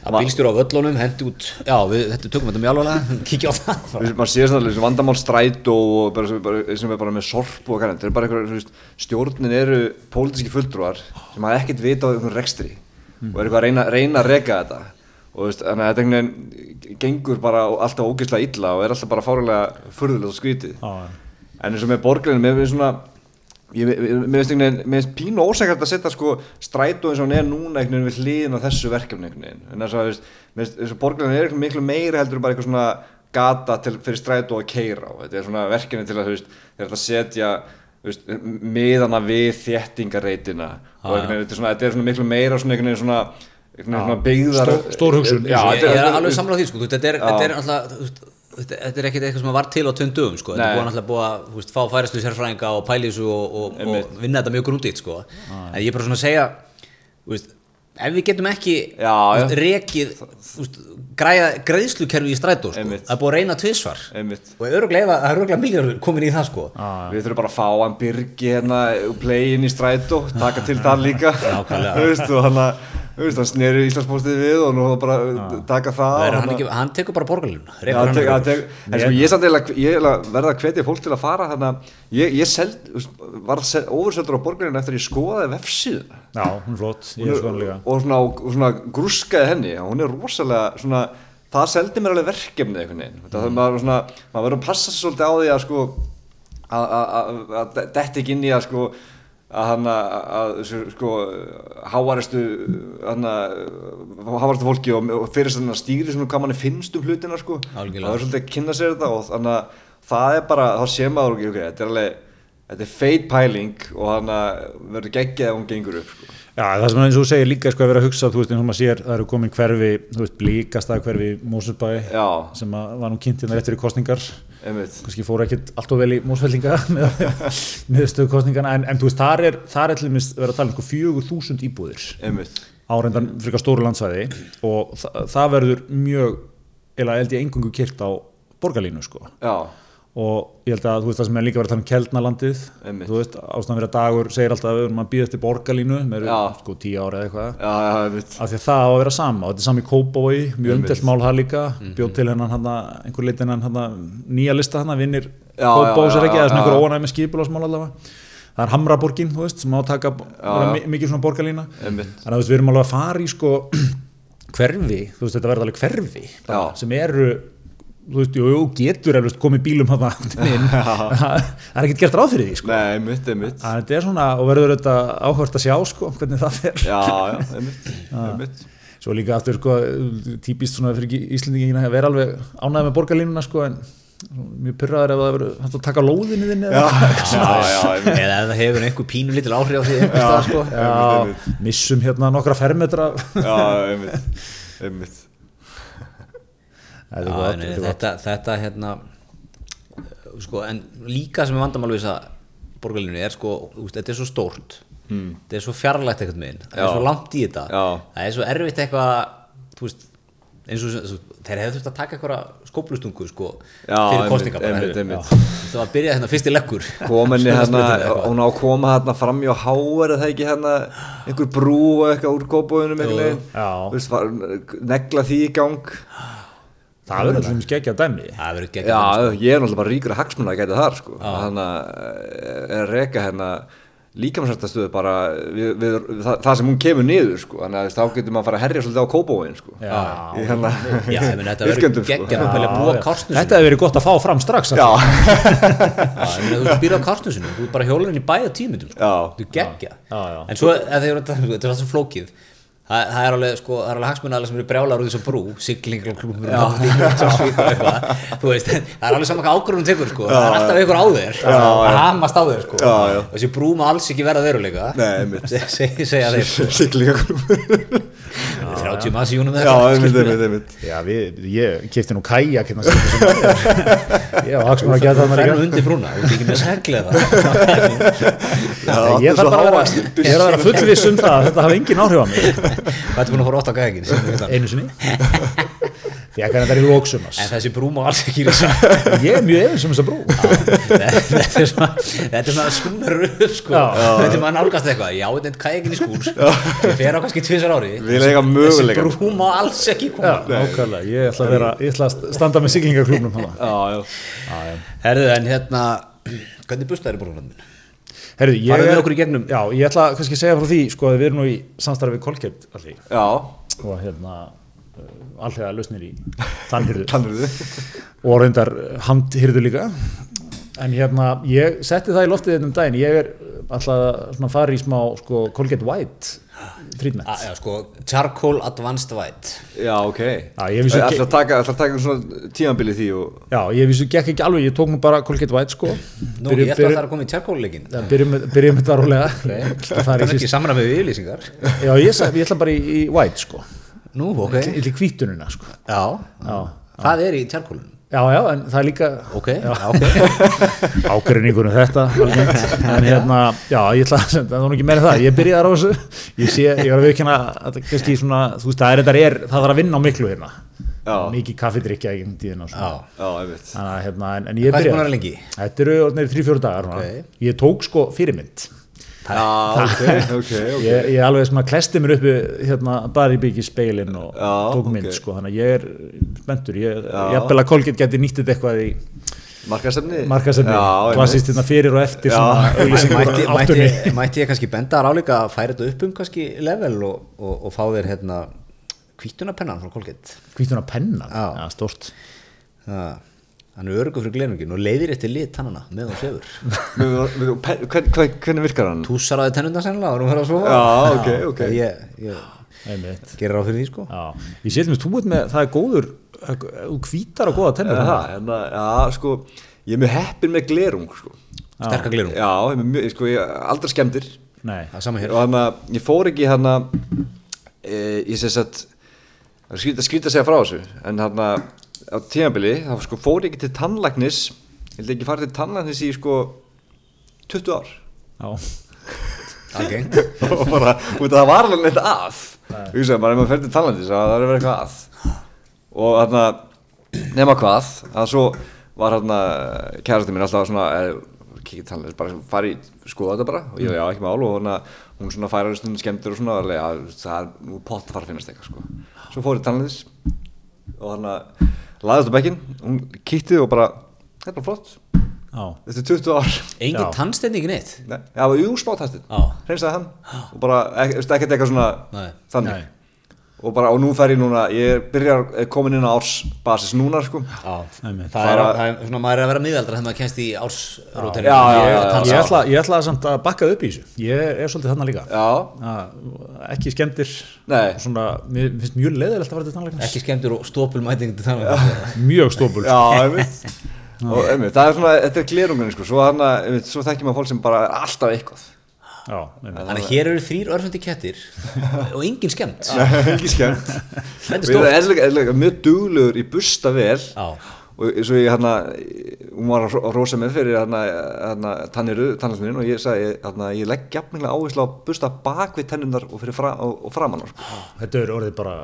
að bílstjóra á völlunum, hendi út já, við, þetta tökum þetta mjög alveg kíkja á það bara. Þú veist, maður sé svona þessi vandamál strætó og bara, sem, bara, sem er bara með sorp og kannan þetta er bara eitthvað, þú veist, stjórnin eru pólitíski fulltrúar sem hafa ekkert vita á einhvern rekstri og er eitthvað að reyna, reyna að reka þetta og þú veist, þannig að þetta einhvern veginn gengur bara og alltaf ógeðslega illa og er alltaf bara fárlega furðulegt og skrítið Já, já. en eins og með borgarlinu, mér finnst svona ég, mér- mér finnst einhvern veginn, mér finnst pínu ósækjart að setja sko strætó eins og hann er núna einhvern veginn við hliðin á þessu verkefni einhvern veginn en þess að, þú veist, mér finnst- eins og borgarlinu er einhvern miklu meira heldur en bara eitthvað svona gata til, fyrir strætó að keira á þetta er svona verkefni til að, þú veist, þeir eru að setja þú veist, miðana við þéttingareitina Ah. og einhvern veginn, þetta er svona, þetta er svona miklu meira svona einhvern veginn svona, einhvern veginn svona byggðar Stór- stór hugsun. Já, ég, ég þetta er þú alveg veist, samláð því sko, þú veist, þetta er, þetta er alltaf þú veist, Þetta þetta er ekkert eitthvað sem var til á tveim dögum sko. þetta Nei. er búin alltaf búið að þú veist, fá færastu sérfræðinga og pæli þessu og, og, og vinna þetta mjög grúndið sko. en ég er bara svona að segja þú veist, ef við getum ekki Já, þú veist, já. rekið þú veist, græja, greiðslukerfi í strætó sko. Einmitt. það er búið að reyna tvisvar einmitt og öruglega, það er öruglega miljardur komin í það sko. Við þurfum bara að fá hann Birgi hérna og play inn í strætó, taka til það líka Nákvæmlega. Þú veist, og hann að þú veist, hann sneri Íslandspóstið við og nú bara ah. taka það Það er og hann, ekki, hann tekur bara borgarlínu Já, rekur hann hann tek, hann öruglega. tek, en sko ég samt eiginlega ég eiginlega verða að hvetja fólk til að fara þannig að ég, ég seld, þú veist, var sel, ofurseldur á borgarinn eftir að ég skoðaði vefsíðuna já, hún er flott, ég er sko hann líka og svona, og svona grúskaði henni og hún er rosalega svona, það seldi mér alveg verkefni einhvern veginn mm. það, maður, svona, maður verður að passa sig svolítið á því að sko að- að- að- að de- detti ekki inn í að sko að hann að- að þessu, sko háaristu hann að háaristu fólki og, og fyrir sem hann stýri svona hvað manni finnst um hlutina sko Algjörlega. það er svolítið að kynna sér þetta og þannig að það er bara, þá sé maður ekki okay, þetta er alveg, þetta er feit pæling og hann að verður geggjað ef hún gengur upp sko. Já, það sem eins og þú segir líka sko að vera að hugsa, þú veist, eins og maður sér, það eru komin hverfi, þú veist, blíkastað hverfi Mósurbæ, Já. sem að var nú kynnt hérna rétt fyrir kostningar, einmitt kannski fóru ekkert allt of vel í mósfellinga með, með stöðkostningana en, en þú veist, þar er, þar er til dæmis verið að tala um sko 4.000 íbúðir einmitt áreyndan frekar stóru landsvæði og þa það verður mjög eða held ég engungu kyrkt á borgarlínu sko Já, og ég held að þú veist það sem er líka verið að tala um Keldnalandið Einmitt. þú veist, ástæðan fyrir að dagur segir alltaf að við erum að býða eftir borgarlínu með Já. sko tíu ára eða eitthvað já, já, einmitt af því að það á að vera sama og þetta er sami kóbói, mjög Einmitt. Mhm. umdelt mál það líka bjóð til hennan hann einhver leitin hann hann nýja lista hann vinnir Já, kóbói já, sér ekki, já, það er svona já. einhver óanæmi skipulásmál allavega það er Hamraborgin, þú veist, sem átaka mikið svona borgarlína Einmitt. þannig að þú veist, við erum alveg að fara í sko hverfi, þú veist, þetta verður alveg hverfi bara, Já. sem eru þú veist, jú, jú, getur eflust komið bílum hann inn, það er ekkert gert ráð fyrir því sko. Nei, einmitt, einmitt Þannig að þetta er svona, og verður þetta áhvert að sjá sko, hvernig það fer Já, já, einmitt, einmitt Svo líka aftur sko, típist svona fyrir Íslendingina að vera alveg ánægð með borgarlínuna sko, en mjög pyrraður ef það verður hægt að taka lóðinu þinni eða Já, eitthvað. já, eða ef það hefur einhver pínu lítil áhrif á því einhvers staðar, sko. Já, missum hérna nokkra fermetra já, já, einmitt, einmitt. Þetta er Já, gott, en þetta er gott. þetta, þetta hérna uh, sko, en líka sem er vandamál við þessa borgarlínu er sko, úst, þetta er svo stórt þetta er svo fjarlægt eitthvað meginn það er Hmm. Já. svo langt í þetta Já. það er svo erfitt eitthvað þú veist, eins og þú, þeir hefðu þurft að taka eitthvað skóplustungu sko, Já, fyrir einmitt, kostninga bara, einmitt, heyrðu. einmitt. Já. þetta var að byrja hérna fyrst í leggur kominni Svona hérna, sprautur eða eitthvað. hún á að koma hérna fram hjá háar eða ekki hérna einhver brú og eitthvað úr kópóðunum Jú. Já. eitthvað negla því í gang það verður alltaf skeggja dæmi það verður já, gegn sko. ég er náttúrulega bara ríkur að hagsmuna að gæta þar sko, þannig að er reka hérna líkamsrættastöðu bara við, við, við, það, það sem hún kemur niður sko, þannig að þú veist, þá getur maður að fara að herja svolítið á kópóin sko. Já. Í hérna, já, ég meina þetta verður iðkendum, sko. gegn að pælja búa kárstnusinu Þetta hefur verið gott að fá fram strax já, Já, ég meina, þú veist, býrð á kártnusinu, þú ert bara hjólurinn í bæða tímitum sko. Já. þú geggja Já, já. en svo, ef þið eru að tala um, þetta er alltaf flókið Það, það er alveg, sko, það er alveg hagsmunnaðalega sem eru brjálar úr þessu brú, siglinglklúmur og náttúrulega eitthvað, þú veist, það er alveg saman hvað ákvörðunum tekur, sko, það er alltaf einhver á þér, það hamast á þér, sko, Já, já. og þessi brú má alls ekki verða veruleika, Nei, einmitt. segja, segja þeir, sko, siglingaklúmur 30 manns í húnum já, einmitt, einmitt, einmitt Já, við, ég kipti nú kæja hérna sem þessum Ég var hagsmann að geta það fer maður nú ekki undir brúna, þú ert ekki með að segla það, Ég þarf bara að vera, hávaxinn. ég þarf að vera fullviss um það að þetta hafi engin áhrif á mig það er búin að fara ótt á gæðingin, Einu sinni Því að þetta er í lóksumars en þessi brú má alls ekki rísa. Ég er mjög efins um þessa brú þetta er svona þetta er svona svona röð sko Já. þetta er maður nálgast eitthvað, já þetta er kajakin í skúr ég fer á kannski tvisar ári Við eiga þessi möguleika. brú má alls ekki Já, koma nákvæmlega, ég ætla að vera, ég ætla að standa með siglingarklúknum hana já, já herðu en hérna hvernig busta er í borgarlandinu? Herðu, ég Farðu með er- okkur í gegnum. Já, ég ætla að kannski að segja frá því, sko, að við erum nú í samstarfi við Kolkept allir Já, og hérna alltaf að lausnir í tannhyrðu tannurðu og reyndar eh, handhyrðu líka en hérna, ég setti það í loftið þetta um daginn, ég er alltaf að svona fara í smá sko, Colgate White treatment já sko, charcoal advanced white Já, ok Já, ég vissi ekki- Ætlar að taka, ætlar að taka svona tímanbili því og Já, ég vissu, gekk ekki alveg, ég tók nú bara Colgate White sko nú ég ætla að það er að koma í charcoal leikin Já, byrjum, með- byrjum með þetta rólega Það það fara í er fyrst- ekki samræmi við yfirlýsingar Já, ég, sa- ég ætla bara í, í White sko nú ok Ég ætla í hvítununa sko já, Já, það er í charcoalunum já, já en það er líka ok, ok ágreiningur um þetta almennt. en hérna, já, ég ætla að senda það er nú ekki meira en það, ég byrjaði á þessu ég sé, ég var að viðkynna að það kannski svona þú veist, það er þetta er, það þarf að vinna á miklu hérna Já. mikið kaffidrykja í gegnum tíðina og svona. já Já, einmitt Þannig að, hérna, en, en Hvað ertu ég byrjaði búin að vera lengi? þetta eru orðnir 3-4 dagar Ok. okay. ég tók sko fyrirmynd Já, ok, ok, ok ég, ég alveg svona klesti mér uppi hérna, bara í byggi speilin og Já, tók ok. mynd sko, þannig að ég er spenntur, ég, Já. ég að Kolgett geti nýtt þetta eitthvað í Markasefni markasefni, Já, klassist hérna fyrir og eftir svona auglýsingar mætti, á mætti, áttunni. mætti ég kannski benda þar álíka að færa þetta upp um kannski level og, og, og fá þér hérna kvítunapennan frá Colgate hvítuna penna, Já. já, stórt Það- hann er örgur fyrir glenungin og leiðir eftir lit tannana með hún sefur einmitt Við- við- pe- hvern- hvern- Hvernig virkar hann? túsar á því tennundan sennilega og hún verður að sofa Já, ok, ok ég, ég einmitt gerir á fyrir því sko já. ég sé til mér, þú veit með, það er góður þú hvítar og góða Er tennur það, hérna, já, sko Ég er mjög heppin með glerung, sko sterkar glenung Já, ég er mjög, sko, ég aldrei skemmtir nei, það er sama hér Og hann að, ég fór ekki hann að e, Ég sé satt Það er skrýta, skrýta að segja frá þessu En hann að, á tímabili þá sko, fór ég ekki til tannlagnis Ég held ekki farið til tannlagnis í, sko 20 ár já, algengt og bara, út að það var alveg neitt að þú veist að bara ef maður fer til talandi þá það er verið eitthvað að og þarna, nema hvað að svo var hérna kærasti mín alltaf svona eh, kikið talandi, bara fari skoða þetta bara og ég, já, ekki mál og hérna hún svona færa stundin skemmtir og svona og alveg, já, það er nú pott að fara að finnast eitthvað sko svo fór ég talandis og hérna laðist á bekkin, hún kittið og bara þetta er bara flott, já, þetta er 20 ár engin Já. tannstending neitt Nei, já, var jú, smá tættin Já. hreinsaði hann og bara, ek, veist, ekkert eitthvað svona Nei. þannig Nei. og bara, og nú fer ég núna, ég byrjar er komin inn á ársbasis núna, sko Já, það er, Einmitt. Bara- það er svona maður er að vera miðaldra þegar maður kennst í ársrótari Já, já, já, já. ég, ég, ætla, ég ætla samt að bakka upp í þessu ég er, er svolítið þarna líka já, að, ekki skemmtir Nei. svona, mér finnst mjög leiðilegt að fara til tannleiknis ekki skemmtur og stópul mæting til tannlega mjög stópul já, ég veit og einmitt, það er svona, þetta er glerungunni sko, svo, hana, einmitt, svo þekkjum maður fólk sem bara er alltaf eitthvað Já, einmitt. Þannig að hér eru þrýr örfundi kettir og engin skemmt ekki skemmt Þetta er við erum stórt. eðlilega, eðlilega mjög duglegur í busta vel Já. og svo ég hérna hún var að hró- rósa með fyrir hérna, hérna tanniru, tannlæknirinn og ég sagði hérna, ég legg jafnilega áherslu á busta bak við tennundar og, fyrir fra, og, og framann sko. Þetta eru orðið bara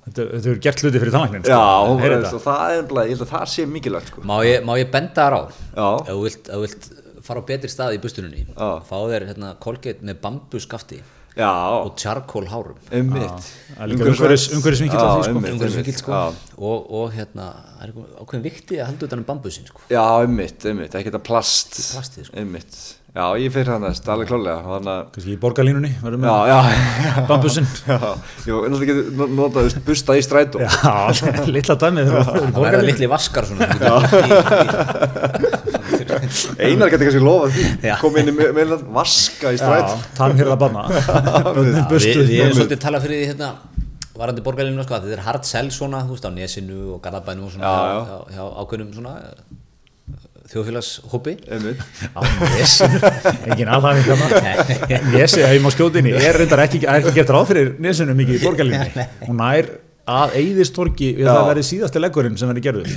Þetta þetta eru gert hluti fyrir tannlæknin já, og, er og þetta það er bara, ég held að það sé mikilvægt sko. Má ég, má ég benda þar á Já. ef þú vilt, ef þú vilt fara á betri stað í bustununni Já. fá þér hérna kolgeit með bambuskafti já, og charcoal hárum ummitt það er líka umhverfis- umhverfisvinkill á því, sko. umhverfisvinkill sko og, og hérna það er einhver- ákveðin vikti að halda utan um bambusin sko Já, ummitt, ummitt, ekki þetta plast plastið, sko. Ummitt, já, ég fyrir hann næst, alveg klálega Þannig að, Kannski í borgarlínunni verðum já, við já bambusinn Já, ég var náttúrulega getur no- notað þú veist, busta í strætó Já, litla dæmið það verða litli vaskar svona þú getur lagt í- í- Einar getur kannski lofað því Já. kom inn í me- meðan að vaska í strætó Tannhjörða banna Börnum Já, við, bustu við erum svolítið talað fyrir því hérna varandi borgarlinu sko að þetta er hard sell svona þú veist á nesinu og garðabænum og svona Já, hjá, hjá, já. hjá ákveðnum svona eh, þjóðfélagshópi Ummitt, á nesinu Engin aðhæfing þarna Nesi að ég má skjóti inn í er reyndar ekki, er ekki gert ráð fyrir nesinu mikið í borgarlínunni Hún nær að eigðistorki við Já. það verið síðasti leggurinn sem verið gerður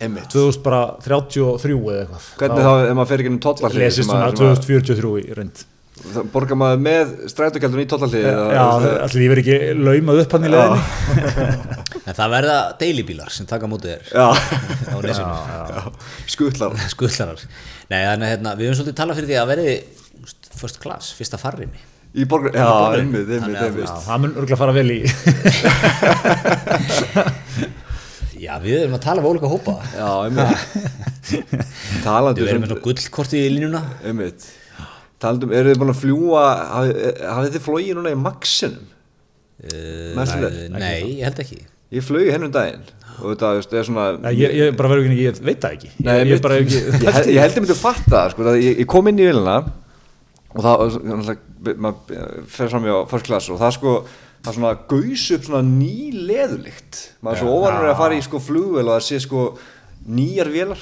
ummitt 2033 eða eitthvað Hvernig þá, ef maður fer ekki um Þá tollarhlið lesist hún að 2043 í reynd Borgar maður með strætókjaldun í tollarhlið Já, allir ég verið ekki laumað upp hann í leðinni en það verða deilibílar sem taka mútið þér Já, á nesinu já. skutlar skullarar Nei, þannig að hérna, við höfum svolítið talað fyrir því að verði þú veist, first class, fyrsta farrimi Í borgar, já, ummitt, ummitt, Þannig að- ummitt Já, það mun örgulega fara vel í Já, við erum að tala við ólika hópa Já, ummitt Talandi Við um- erum með svona gullkorti í línuna Einmitt. Taldum, eru þið búin að fljúa, hafið þið flogið núna í Maxinum? uh, Merkilegt. nei, Nei, ég held ekki Ég flög hennum um daginn og þetta þú veist, er svona... Nei, ég, ég bara verður ekki, ég veit það ekki Ég, Nei, ég, einmitt. bara ekki ég, held- ég held ég myndi að fatta það, sko, það ég, ég kom inn í vilna og það, náttúrulega, maður fer fram í á first class og það sko, það svona gaus upp svona ný leðulikt. Maður er svo óvanur að fara í sko flugvél og það sé sko nýjar vélar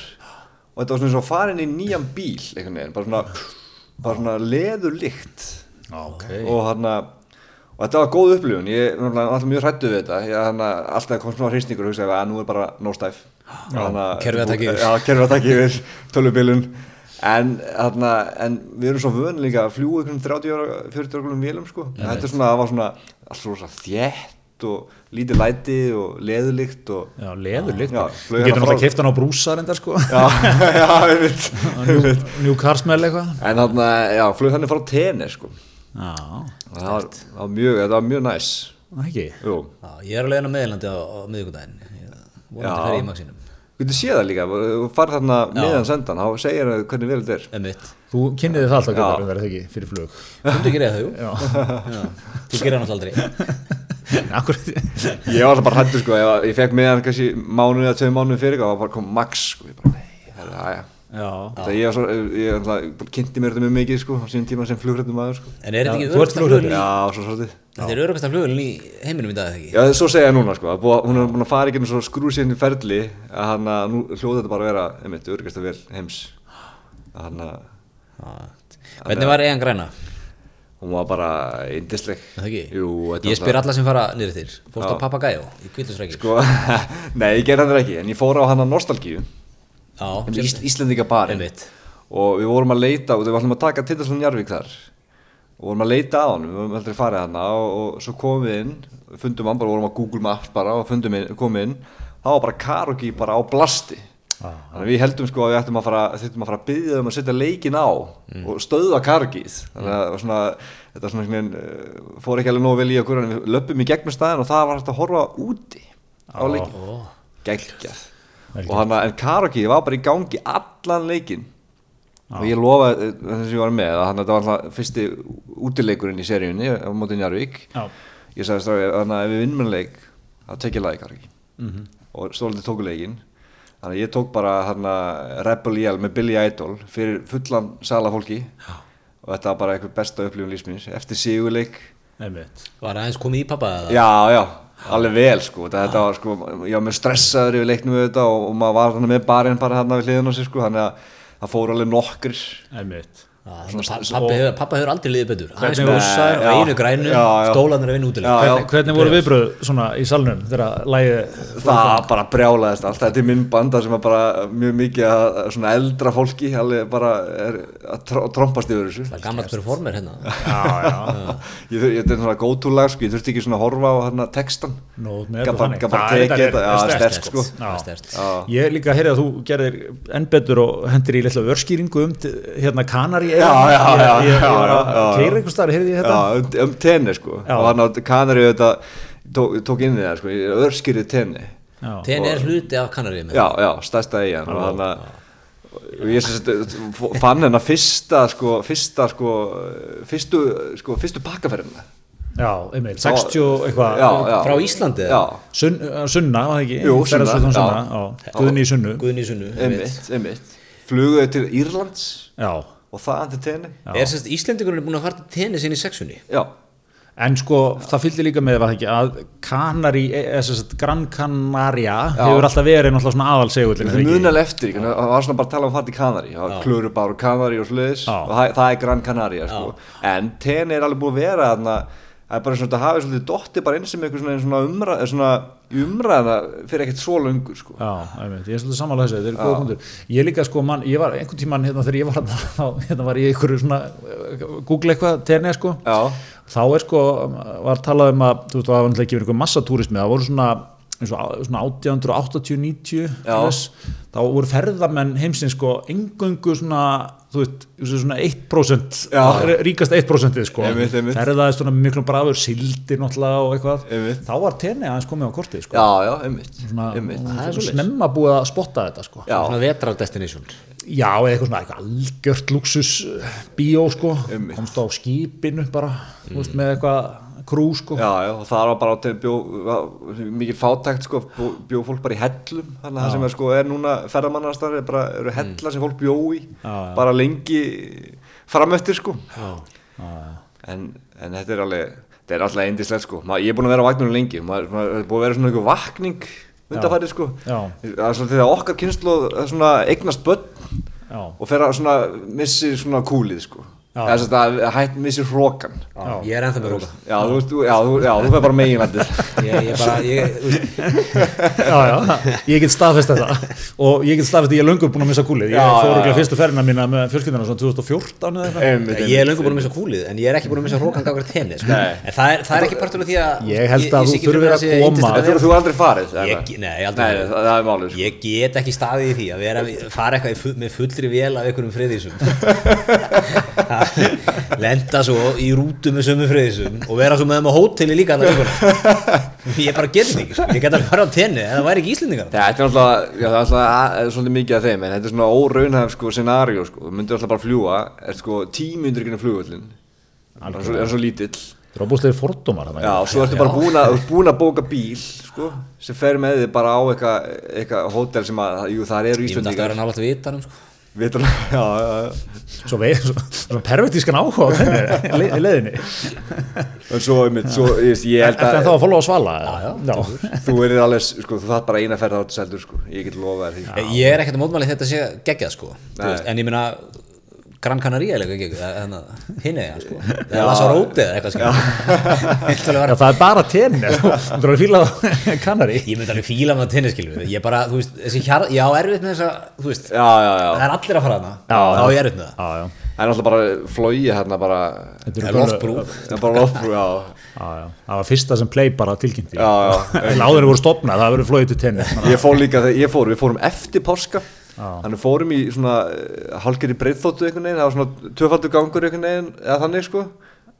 og þetta var svona svo farin í nýjan bíl, einhvern veginn, bara svona, bara svona leðulikt. okay. og hann og þetta var góð upplifun, ég er náttúrulega alltaf mjög hrættu við þetta ég hann alltaf kom svona hristingur og hugsaði að nú er bara no stæf kerfið að taka yfir. já, kerfið að taka yfir, tölubilun en, þarna, en við erum svo vön líka að fljúa ykkur 30 ára, 40 ára vélum sko þetta er svona, það var svona allt svona þjætt og lítið læti og leðulikt og Já, leður líkt Já, Við getum flugvélarnar alltaf keift hann á brúsar enda sko já, já, ég veit Njú, njú karsmell eitthvað en hann, já, flug þannig frá tenni sko Já, það var, það var mjög, þetta var mjög næs það ekki jú Já, Ég er alveg enn á meðlandi á, á miðvikudaginn Ég Já. Vonandi fer ég í maksinum Þú getur séð það líka, þú farið þarna meðan sendan, þá segir það hvernig vel þetta er. Emmitt Þú kynniði það alltaf gætar en það er það ekki fyrir flug Kundu ekki reyða það, jú? Já. Þú gerir hann alltaf aldrei Akkur Ég var alltaf bara hættur sko, ég, ég fekk meðan kannski mánuðið að tvei mánuðið fyrir og það bara kom max sko, ég bara nei, það er aðja. Já Það ég var svo, ég var alltaf, kynnti mér þetta mjög mikið sko, á sínum tíma sem flugrættum aður sko. En er þetta Já, ekki þú ert örugasta flugulinn í Já, svo svolítið. Þetta er örugasta flugulinn í heiminum í dag, eða ekki? Já, svo segja ég núna sko, að búa, hún er búin að fara ekki svo skrúð sérn í ferli að hann að nú hljóta þetta bara að vera, einmitt, örgast vel heims. Þannig að Já. Hvernig var eigin græna? hún var bara indisleg. Er Það ekki? Jú, þetta ég var alltaf- spyr alla sem fara niður þér Fórst á Já. Papagæjó í Kvítusrækir Sko, nei, ég gerði hann ekki, en ég fór á hann að nostalgíu, Já, sem- Ís, Íslendinga barinn Einmitt. og við vorum að leita, og við ætlum að taka Tindarsson Jarvík þar og vorum að leita að honum, við vorum aldrei farið hann og, og svo komum við inn, fundum hann bara, vorum að Google Maps bara og fundum inn, komum inn þá var bara karaoke bara á blasti Ah, þannig að við heldum sko að við ættum að fara þurftum að fara að byggja um að setja leikin á Mm. og stöða karaokið þannig að það var svona, þetta svona einhvern veginn, eh, fór ekki alveg nógu vel í okkur en við löpum í gegnum staðin og það var hægt að horfa úti á leikin Ó. geggjað Vel og hann að, en karaoke var bara í gangi allan leikin og ég lofa þess að ég var með að hann þetta var alltaf fyrsti útileikurinn í seríunni á móti Njarvík Já. ég sagði strafið að ef við vinnum leik þá tek ég lagi karaoke Mhm. og stólandi tóku leikin þannig að ég tók bara hann að Rebel Yell með Billy Idol fyrir fullan sala fólki og þetta var bara eitthvað besta upplifun lífsminns eftir síguleik Einmitt Var aðeins komið í pappa eða? já já alveg vel sko, þetta, þetta var sko, ég var með stressaður yfir leiknum við þetta og, og maður var hann með barinn bara hann við hliðin á sig sko, þannig að það fóru alveg nokkrir einmitt Pappa hefur, pappa hefur aldrei liðið betur aðeins Hvernig- bússar Já, og einu grænu já, já. stólanir að vinna Já, já. útileg Hvernig, hvernig voru viðbröð svona í salnum þegar lægið það bara brjálaðist allt þetta er minn banda sem er bara mjög mikið að að svona eldra fólki alveg bara er að tr trompast yfir þessu það er gammalt performer hérna Já, já, ég þur- ég- þetta er svona góttúlag sko, ég þurfti ekki svona að horfa á hérna textan Nú, með Gat þetta bara þannig. gat bara Það er- tekið þetta þetta, er- já, er sterkt Sterkt, sko það er sterkt. Já. Ég líka heyrði að þú gerðir enn betur og hendir í litla örskýringu um t- hérna kanari Já, já, já, ég, ég var já, að já, já. keira einhvers staðar, heyrði ég þetta Já, um, um tenni sko Já. og hann á kanari þetta tók, tók inn í það sko, örskýrið tenni Já. TN er hluti af kannaríum já, já, stærsta eigin og hann að og ég sem sagt, f- fann hennar fyrsta sko, fyrsta sko fyrstu, sko, fyrstu pakkaferðina Já, einmitt, 60 og eitthvað já, já. frá Íslandi eða? já, Sunn, uh, Sunna, var það ekki? Jú, Ferðast Sunna, við þá já. sunna. Já. Guðni í Sunnu Guðni Sunnu ég veit. einmitt, einmitt fluguðu til Írlands Já, og það til tenni Já. er sérst Íslandingurinn búin að fara til tennis inn í sexunni já, en sko, það fylgdi líka með var það ekki, að Kanari, eða sem sagt Gran Canaria hefur alltaf verið náttúrulega svona aðalsegullin það munaði eftir ekki, það var svona bara að tala um að fara til Kanari það var klörubar og Kanari og sliðis Já. og það, það er Gran Canaria sko. en tenni er alveg búin að vera þarna það er bara svona að hafa svolítið dotti bara eins sem einhver svona, svona, umra, svona umræða fyrir ekkert svo löngu sko. Já, einmitt, ég er svolítið sammála þessu, þetta er góða punktur Ég líka sko, man, ég var einhvern tímann hérna þegar ég var hérna, þá hérna var ég í einhverju svona eh, Google eitthvað, tenni sko Já. Þá er sko, var talað um að þú veist, það var náttúrulega ekki verið einhver massatúrismi það voru svona, eins og á- svona 1880-90 Já. þess, þá voru ferðamenn heimsins sko engöngu svona, þú veist, svona 1% Já. r- ríkasta 1% sko Einmitt, einmitt. ferðaðist svona miklum brafur, sildi náttúrulega og eitthvað, Einmitt. þá var tenni aðeins komið á kortið sko já, já, einmitt, svona, einmitt. svona Það er svoleiðis. snemma búið að spotta þetta sko. já. Já. svona vetrar destination eða eitthvað svona eitthvað algjört luxus bíó sko, Einmitt. Mm. komst á skipinu bara, þú veist, með eitthvað krú sko, Já, já, og það var bara á til bjó, var mikil fátækt sko, bjó, bjó fólk bara í hellum þannig að það sem er, sko, er núna ferðamannarstæðar er bara eru hellar sem fólk bjó í Mm. Já, já. bara lengi framöftir sko já. en, en þetta er alveg þetta er alltaf eindislegt sko, Ma, ég er búin að vera á vagnunum lengi maður maður er búin að vera svona einhver vakning undanfæri sko Já. það er svona þegar okkar kynslu svona eignast börn já, og fer að svona missi svona kúlið sko Já. eða þess að hætt missi hrókan Já. ég er ennþá með róka Já, þú veist, þú- já, þú, já, þú fer bara meginlandið ég, ég bara, ég, þú veist, já, já, ég get staðfest þetta og ég get staðfest að ég er löngu búin að missa kúlið ég Já, já, fór já. okkur fyrstu ferðina mína með fjölskyldina svona 2014 eða eitthvað Einmitt, ég er löngu búin að missa kúlið en ég er ekki búin að missa rókan gangað tenni sko. Nei. en það er, það er ekki partur af því að Ég held að sé þú ekki fyrir þurfir mér að sé koma. En yndislegt þú, þú aldrei farið? Ég- eða? nei, aldrei nei, farið. það, það er málið sko. ég get ekki staðið í því að vera, fara eitthvað í full, með fullri vél af einhverjum friðisum lenda svo í rútu með sömu friðisum og vera svo með þeim á hóteli líka allar ykkur ég bara get þetta ekki, sko. ég get alveg fara á tenni en það væri ekki Íslendingar Nei, Þetta er alltaf, já, það er alltaf að- er svolítið mikið af þeim en þetta er svona óraunhæf sko, scenario sko. þú myndir alltaf bara fljúa er sko tímundur ekki flugvöllin Það er svo, er svo lítill það var bústlega fordómar þarna. já, og svo ertu bara búin að, þú ert búin að bóka bíl sko, sem fer með þig bara á eitthvað eitthvað hótel sem að, jú, þar ég myndi eru alltaf Íslandingar vera nálægt að vita hann sko. Vitur, já, já, já. svo veið, svo, svo pervertískan áhuga á tenni, le, leðinni en svo, einmitt, svo ég, veist, ég held Ertu en þá að að followa svala? Já, já, þú erir alveg, sko, þú þarf bara eina ferð át seldur, sko, ég get lofað þér því Ég- ég er ekkert að mótmæli þetta sé geggjað sko Þú Nei. veist, en ég meina Gran Canaria er eitthvað geggjað hinn eða sko eða Lasa Róti eða eitthvað sko. skilur Já, það er bara tenni, þú þú er fílað á kanari. ég myndi alveg fíla með tenni skilur ég bara, þú veist, þessi hjar, ég á erfitt með þessa þú veist, já, já, já, það er allir að fara hana þá Já, já. er ég erfitt með það Já, já. það er alltaf bara flóið hérna bara, Þetta Það eru er gömlu- loftbrú það er bara lofbrú, já Já, já. Það var fyrsta sem play bara tilkynnti. já, já. En áður en voru stopnað, það verið flóið til tenni. ég fór líka þegar ég fór, við fórum eftir páska þannig við fórum í svona halgeri breyðþóttu einhvern veginn, það var svona tvöfaldur gangur einhvern veginn, eða þannig sko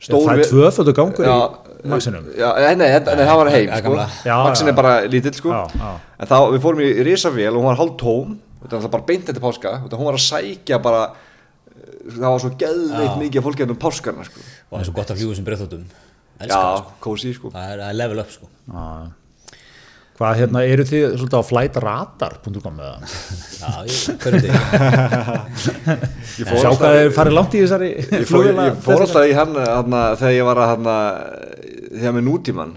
Það er við- tvöföldu gangur Já, í maxinum. já, nei, nei, nei, nei, það var heim það er sko. gamla. Já, já. Maxin er bara lítill sko. Já, já. en þá við fórum í risavél og hún var hálf tóm þetta er alltaf bara beint eftir páska þetta, hún var að sækja bara eh, það var svo geðveikt mikið af fólki hérna um páskana sko. og það er svo gott að fljúga sem breyðþóttum já, elskar það sko, kósi sko. það er, það er level up sko Já, já. Hvað, hérna, eru þið svolítið á flightradar.com eða? já, ég, hverju þig ég fór Sjá alltaf- hvað þið farið langt í þessari ég fór, flugvéla- ég fór alltaf í hann hana, þegar ég var að hana, þegar með nútíman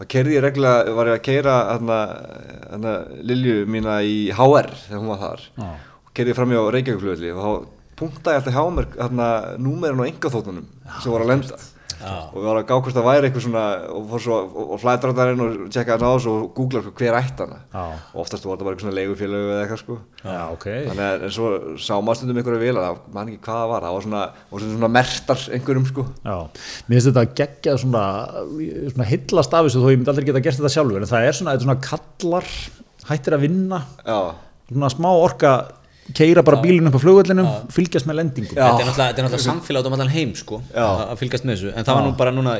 þá kerði ég reglulega, var ég að keira hana, hana, Lilju mína í HR þegar hún var þar Já. og kerði ég fram hjá Reykjavíkflöðli og þá punktaði ég alltaf hjá mér hana, númerin á engaþóttunum sem voru að lenda Já. og við varum að gá hvort það væri eitthvað svona og, fór svo, og, og flætrar það inn og tjekka hann á þessu og googlar hver ætti hana Já. og oftast var þetta bara eitthvað svona leigufélög eða eitthvað sko Já, ok. þannig að en svo sá maður stundum einhverju vel að það man ekki hvað það var, það var svona, var svona, svona mertar einhverjum sko Já, mér finnst þetta geggjað svona, svona hillast af þessu þó ég myndi aldrei geta gert þetta sjálfur en það er svona, þetta er svona kallar hættir að vinna, já, svona smá orka keira bara bílinn upp á flugvöllinu fylgjast með lendingum Já. Þetta er náttúrulega, þetta er náttúrulega samfélag út um allan heim sko, Já. að að fylgjast með þessu en það var nú bara núna,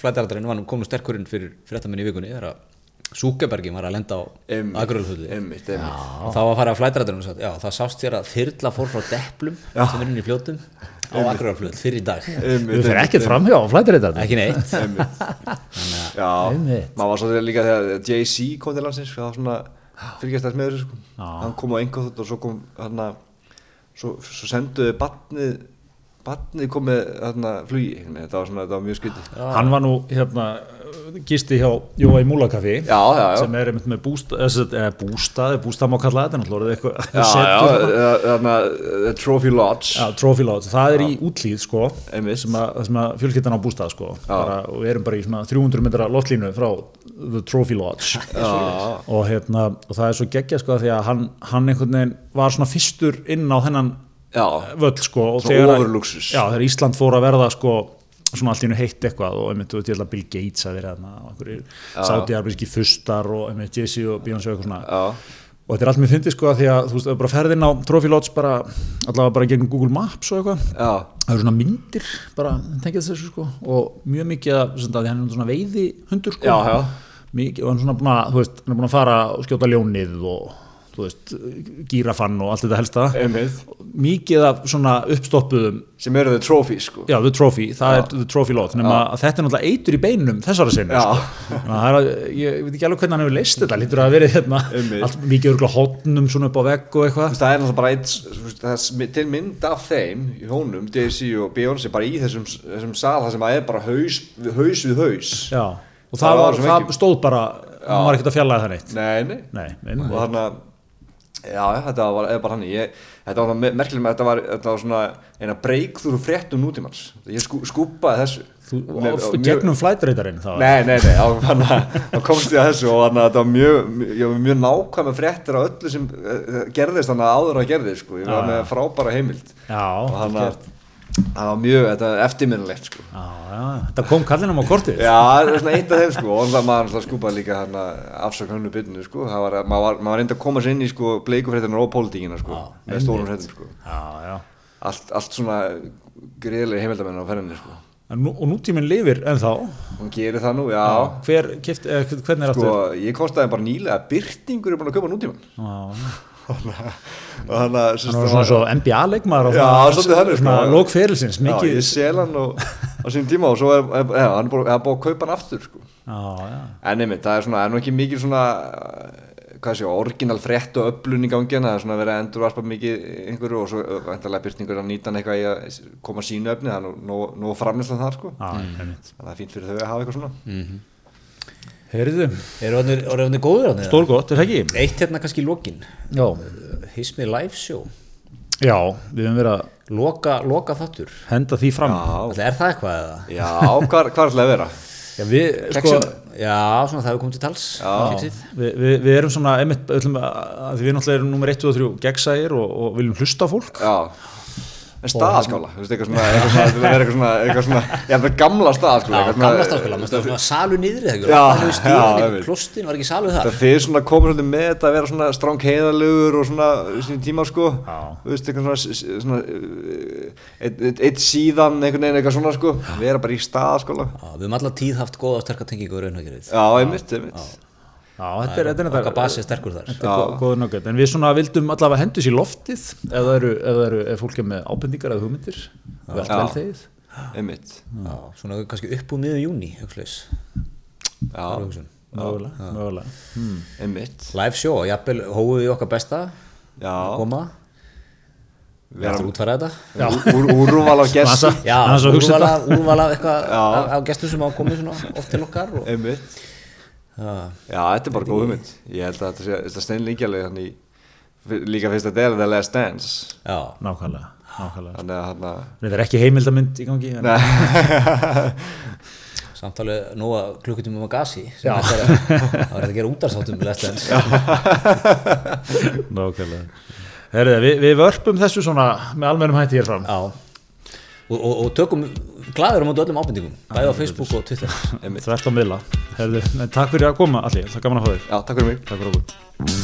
flætaraldurinn var nú komin sterkurinn fyrir fréttamenn í vikunni þegar að Súkebergin var að lenda á Einmitt. agrölhulli einmitt, einmitt og það var að fara að flætaraldurinn og sagt, já, það sást þér að þyrla fór frá deplum sem er inn í fljótum á agrölhulli fyrir í dag Við fyrir ekkert framhjá á flættirreitarni ekki neitt einmitt já, Einmitt. maður var svolítið líka þegar Jay-Z kom til landsins það var svona fylgjast þess með þessu sko hann kom á einhvað þótt og svo kom hann svo, svo senduði batnið batnið kom með hérna flugi þetta var svona, þetta var mjög skytið Hann var nú hérna gisti hjá Jóa í Múlakafi já, já, já sem er einmitt með bústað eða eh, bústað, bústað má kalla þetta náttúrulega orðið eitthvað já, setur. já, já, þarna, eh, Trophy Lodge Já, Trophy Lodge, það er í útlýð sko, Einmitt. sem að, sem að fjölskyldan á bústað sko, bara, og við erum bara í svona 300 metra loftlínu frá The Trophy Lodge já, og, hérna, og það er svo geggja sko, því að hann, hann einhvern veginn var svona fyrstur inn á þennan já, völl sko, og Svona þegar, overluxus. já, þegar Ísland fór að verða sko, svona allt í hennu heitt eitthvað og einmitt, þú veit, ég held að Bill Gates að vera þarna og einhverjir sátiarberski fustar og einmitt Jesse og Beyoncé og eitthvað svona já. og þetta er allt mér fyndið sko af því að þú veist, ef þú bara ferðin á Trophy Lodge bara allavega bara gegnum Google Maps og eitthvað Já, það eru svona myndir bara tengjast þessu sko og mjög mikið að sem sagt, að hann er svona veiði hundur sko Já, já. Mikið, og hann er svona búin að, þú veist, hann er búin að fara og skjóta ljónið og þú veist, gírafann og allt þetta helsta einmitt mikið af svona uppstoppuðum sem eru þau trófi sko Já, The Trophy, það er The Trophy Lot nema að þetta er náttúrulega eitur í beinum þessara sinni Já. sko. Þannig að það er að, ég veit ekki alveg hvernig hann hefur leist þetta lítur að hafa verið hérna Einmitt. allt, mikið örgulega hotnum svona upp á vegg og Þú eitthvað veist, það er náttúrulega bara eitt þú veist, það er smi- til mynd af þeim í honum, Jay-Z og Beyoncé bara í þessum, þessum sal það sem að er bara haus við haus, við haus. Já, og Það það, var var, svo það mikið. stóð bara hann var ekkert að fjallaði það neitt Nei, nei, Nei, og einmitt. þarna já, þetta var er bara hann ég, þetta var svona merkileg með þetta var, þetta var svona eina breykþúru fréttum nútímans ég skú, skúpaði þessu Þú, Með- og, og mjög- gegnum flætreitarinn þá Nei, nei, nei, á, hana, þá komst ég að þessu og hana, þetta var mjög, ég var með mjög nákvæm fréttir á öllu sem uh, gerðist þannig að áður að gerðist, sko, ég var Já, með já. frábæra heimild Já, og hann vel að það var mjög, þetta er eftirminnilegt, sko Já, já, þetta kom kallinum á kortið Já, það er svona eitt af þeim, sko, og hann maður alltaf skúpaði líka hann að afsaka hönnu byrnu, sko, það var, maður var, maður var reyndi að koma sér inn í, sko, bleikufréttina og pólitíkina, sko, með stórum hrettum, sko já, já. allt, allt svona gríðlega heimildamenn á ferðinni, sko En Nú, og nútíminn lifir ennþá Hún gerir það nú, já, hver, kift, eh, hvernig er sko, aftur ég komst aðeins bara nýlega að Byrtingur er búin að kaupa nútíman Já. og hann að hann var svona svo NBA leikmaður á Já, það- svolítið þannig, sko. svona lókferilsins Já, mikið ég sel hann og, á sín tíma og svo er, er, er hann er búin að búin að kaupa hann aftur sko. já, já. en einmitt, það er svona, er nú ekki mikil svona eh, hvað sé, orginal frétt og öflun í gangi en það er svona verið að endurvarpa mikið einhverju og svo endalega byrtingur að nýta hann hérna eitthvað í að koma sínu efni það er nú, nú, nú framlýslan þar sko Já, einmitt. þannig að það er fínt fyrir þau að hafa eitthvað svona heyrðu, eru orðinni góður hann eða? stórgott, er það ekki? eitt hérna kannski í lokin já, Hismi live show já við höfum verið að loka, loka þáttur henda því fram Já, er það eitthvað eða? já, hvað hvað er alltaf að vera? já, við, sko, Kexinu? Já, svona það hefur komið til tals við, Kexið. við, við erum svona einmitt, öllum, að, að því við náttúrulega erum nummer 1 og 3 gegnsægir og, og viljum hlusta á fólk Já En staðaskála, þú veist, eitthvað svona, eitthvað svona, þetta er eitthvað svona, eitthvað svona, já, bara gamla staðaskála, Já, eitthvað gamla stafskóla, maður stafskóla, salu niðri þegar Já, það hefur já, stjórn einmitt. í klostin, var ekki salu þar Það þið svona komur svolítið með þetta að vera svona stráng heiðalegur og svona sín tíma sko Já. Þú veist, eitthvað svona, svona uh, eitt, eitt, eitt síðan einhvern veginn eitthvað svona sko Vera bara í staðaskóla Já, við höfum alltaf tíð haft góða og sterka tengingu við raunhaggerið Já, einmitt, einmitt já, þetta er, þetta er, Okkar þetta basi er sterkur þar þetta er góður nöggjönd en við svona vildum allavega hendu sér loftið ef það eru, ef það eru ef fólk er með ábendingar eða hugmyndir við allt Já. vel þegið Einmitt Já, Svona kannski upp úr miður júni, hugslaus Já, mögulega, mögulega. einmitt Live show, jafnvel hófið við okkar besta Já, koma, við ætlum að útfæra þetta úr, úr, úrval á gesti Massa. Annars að hugsa úrvala, úrvala eitthvað Já. á- á gestum sem hafa komið svona oft til okkar og Einmitt Já, þetta er bara góð hugmynd Ég held að þetta sé- þetta stein líkjalega hann í líka fyrst að þetta er The Last Dance já, nákvæmlega, nákvæmlega. Þannig að hann að Þetta er ekki heimildamund í gangi en, samtalið nóga klukkutíma um að gasi sem þetta er að, það var að gera útarstáttum með lestlens Nákvæmlega Herðu, við, við vörpum þessu svona með almennum hætti hér fram Já og, og, og tökum glæður á móti öllum ábendingum bæði á Facebook og Twitter Þvert á miðla Herðu, en takk fyrir að koma allir, það er gaman að fá þig Já, takk fyrir mig Takk fyrir okkur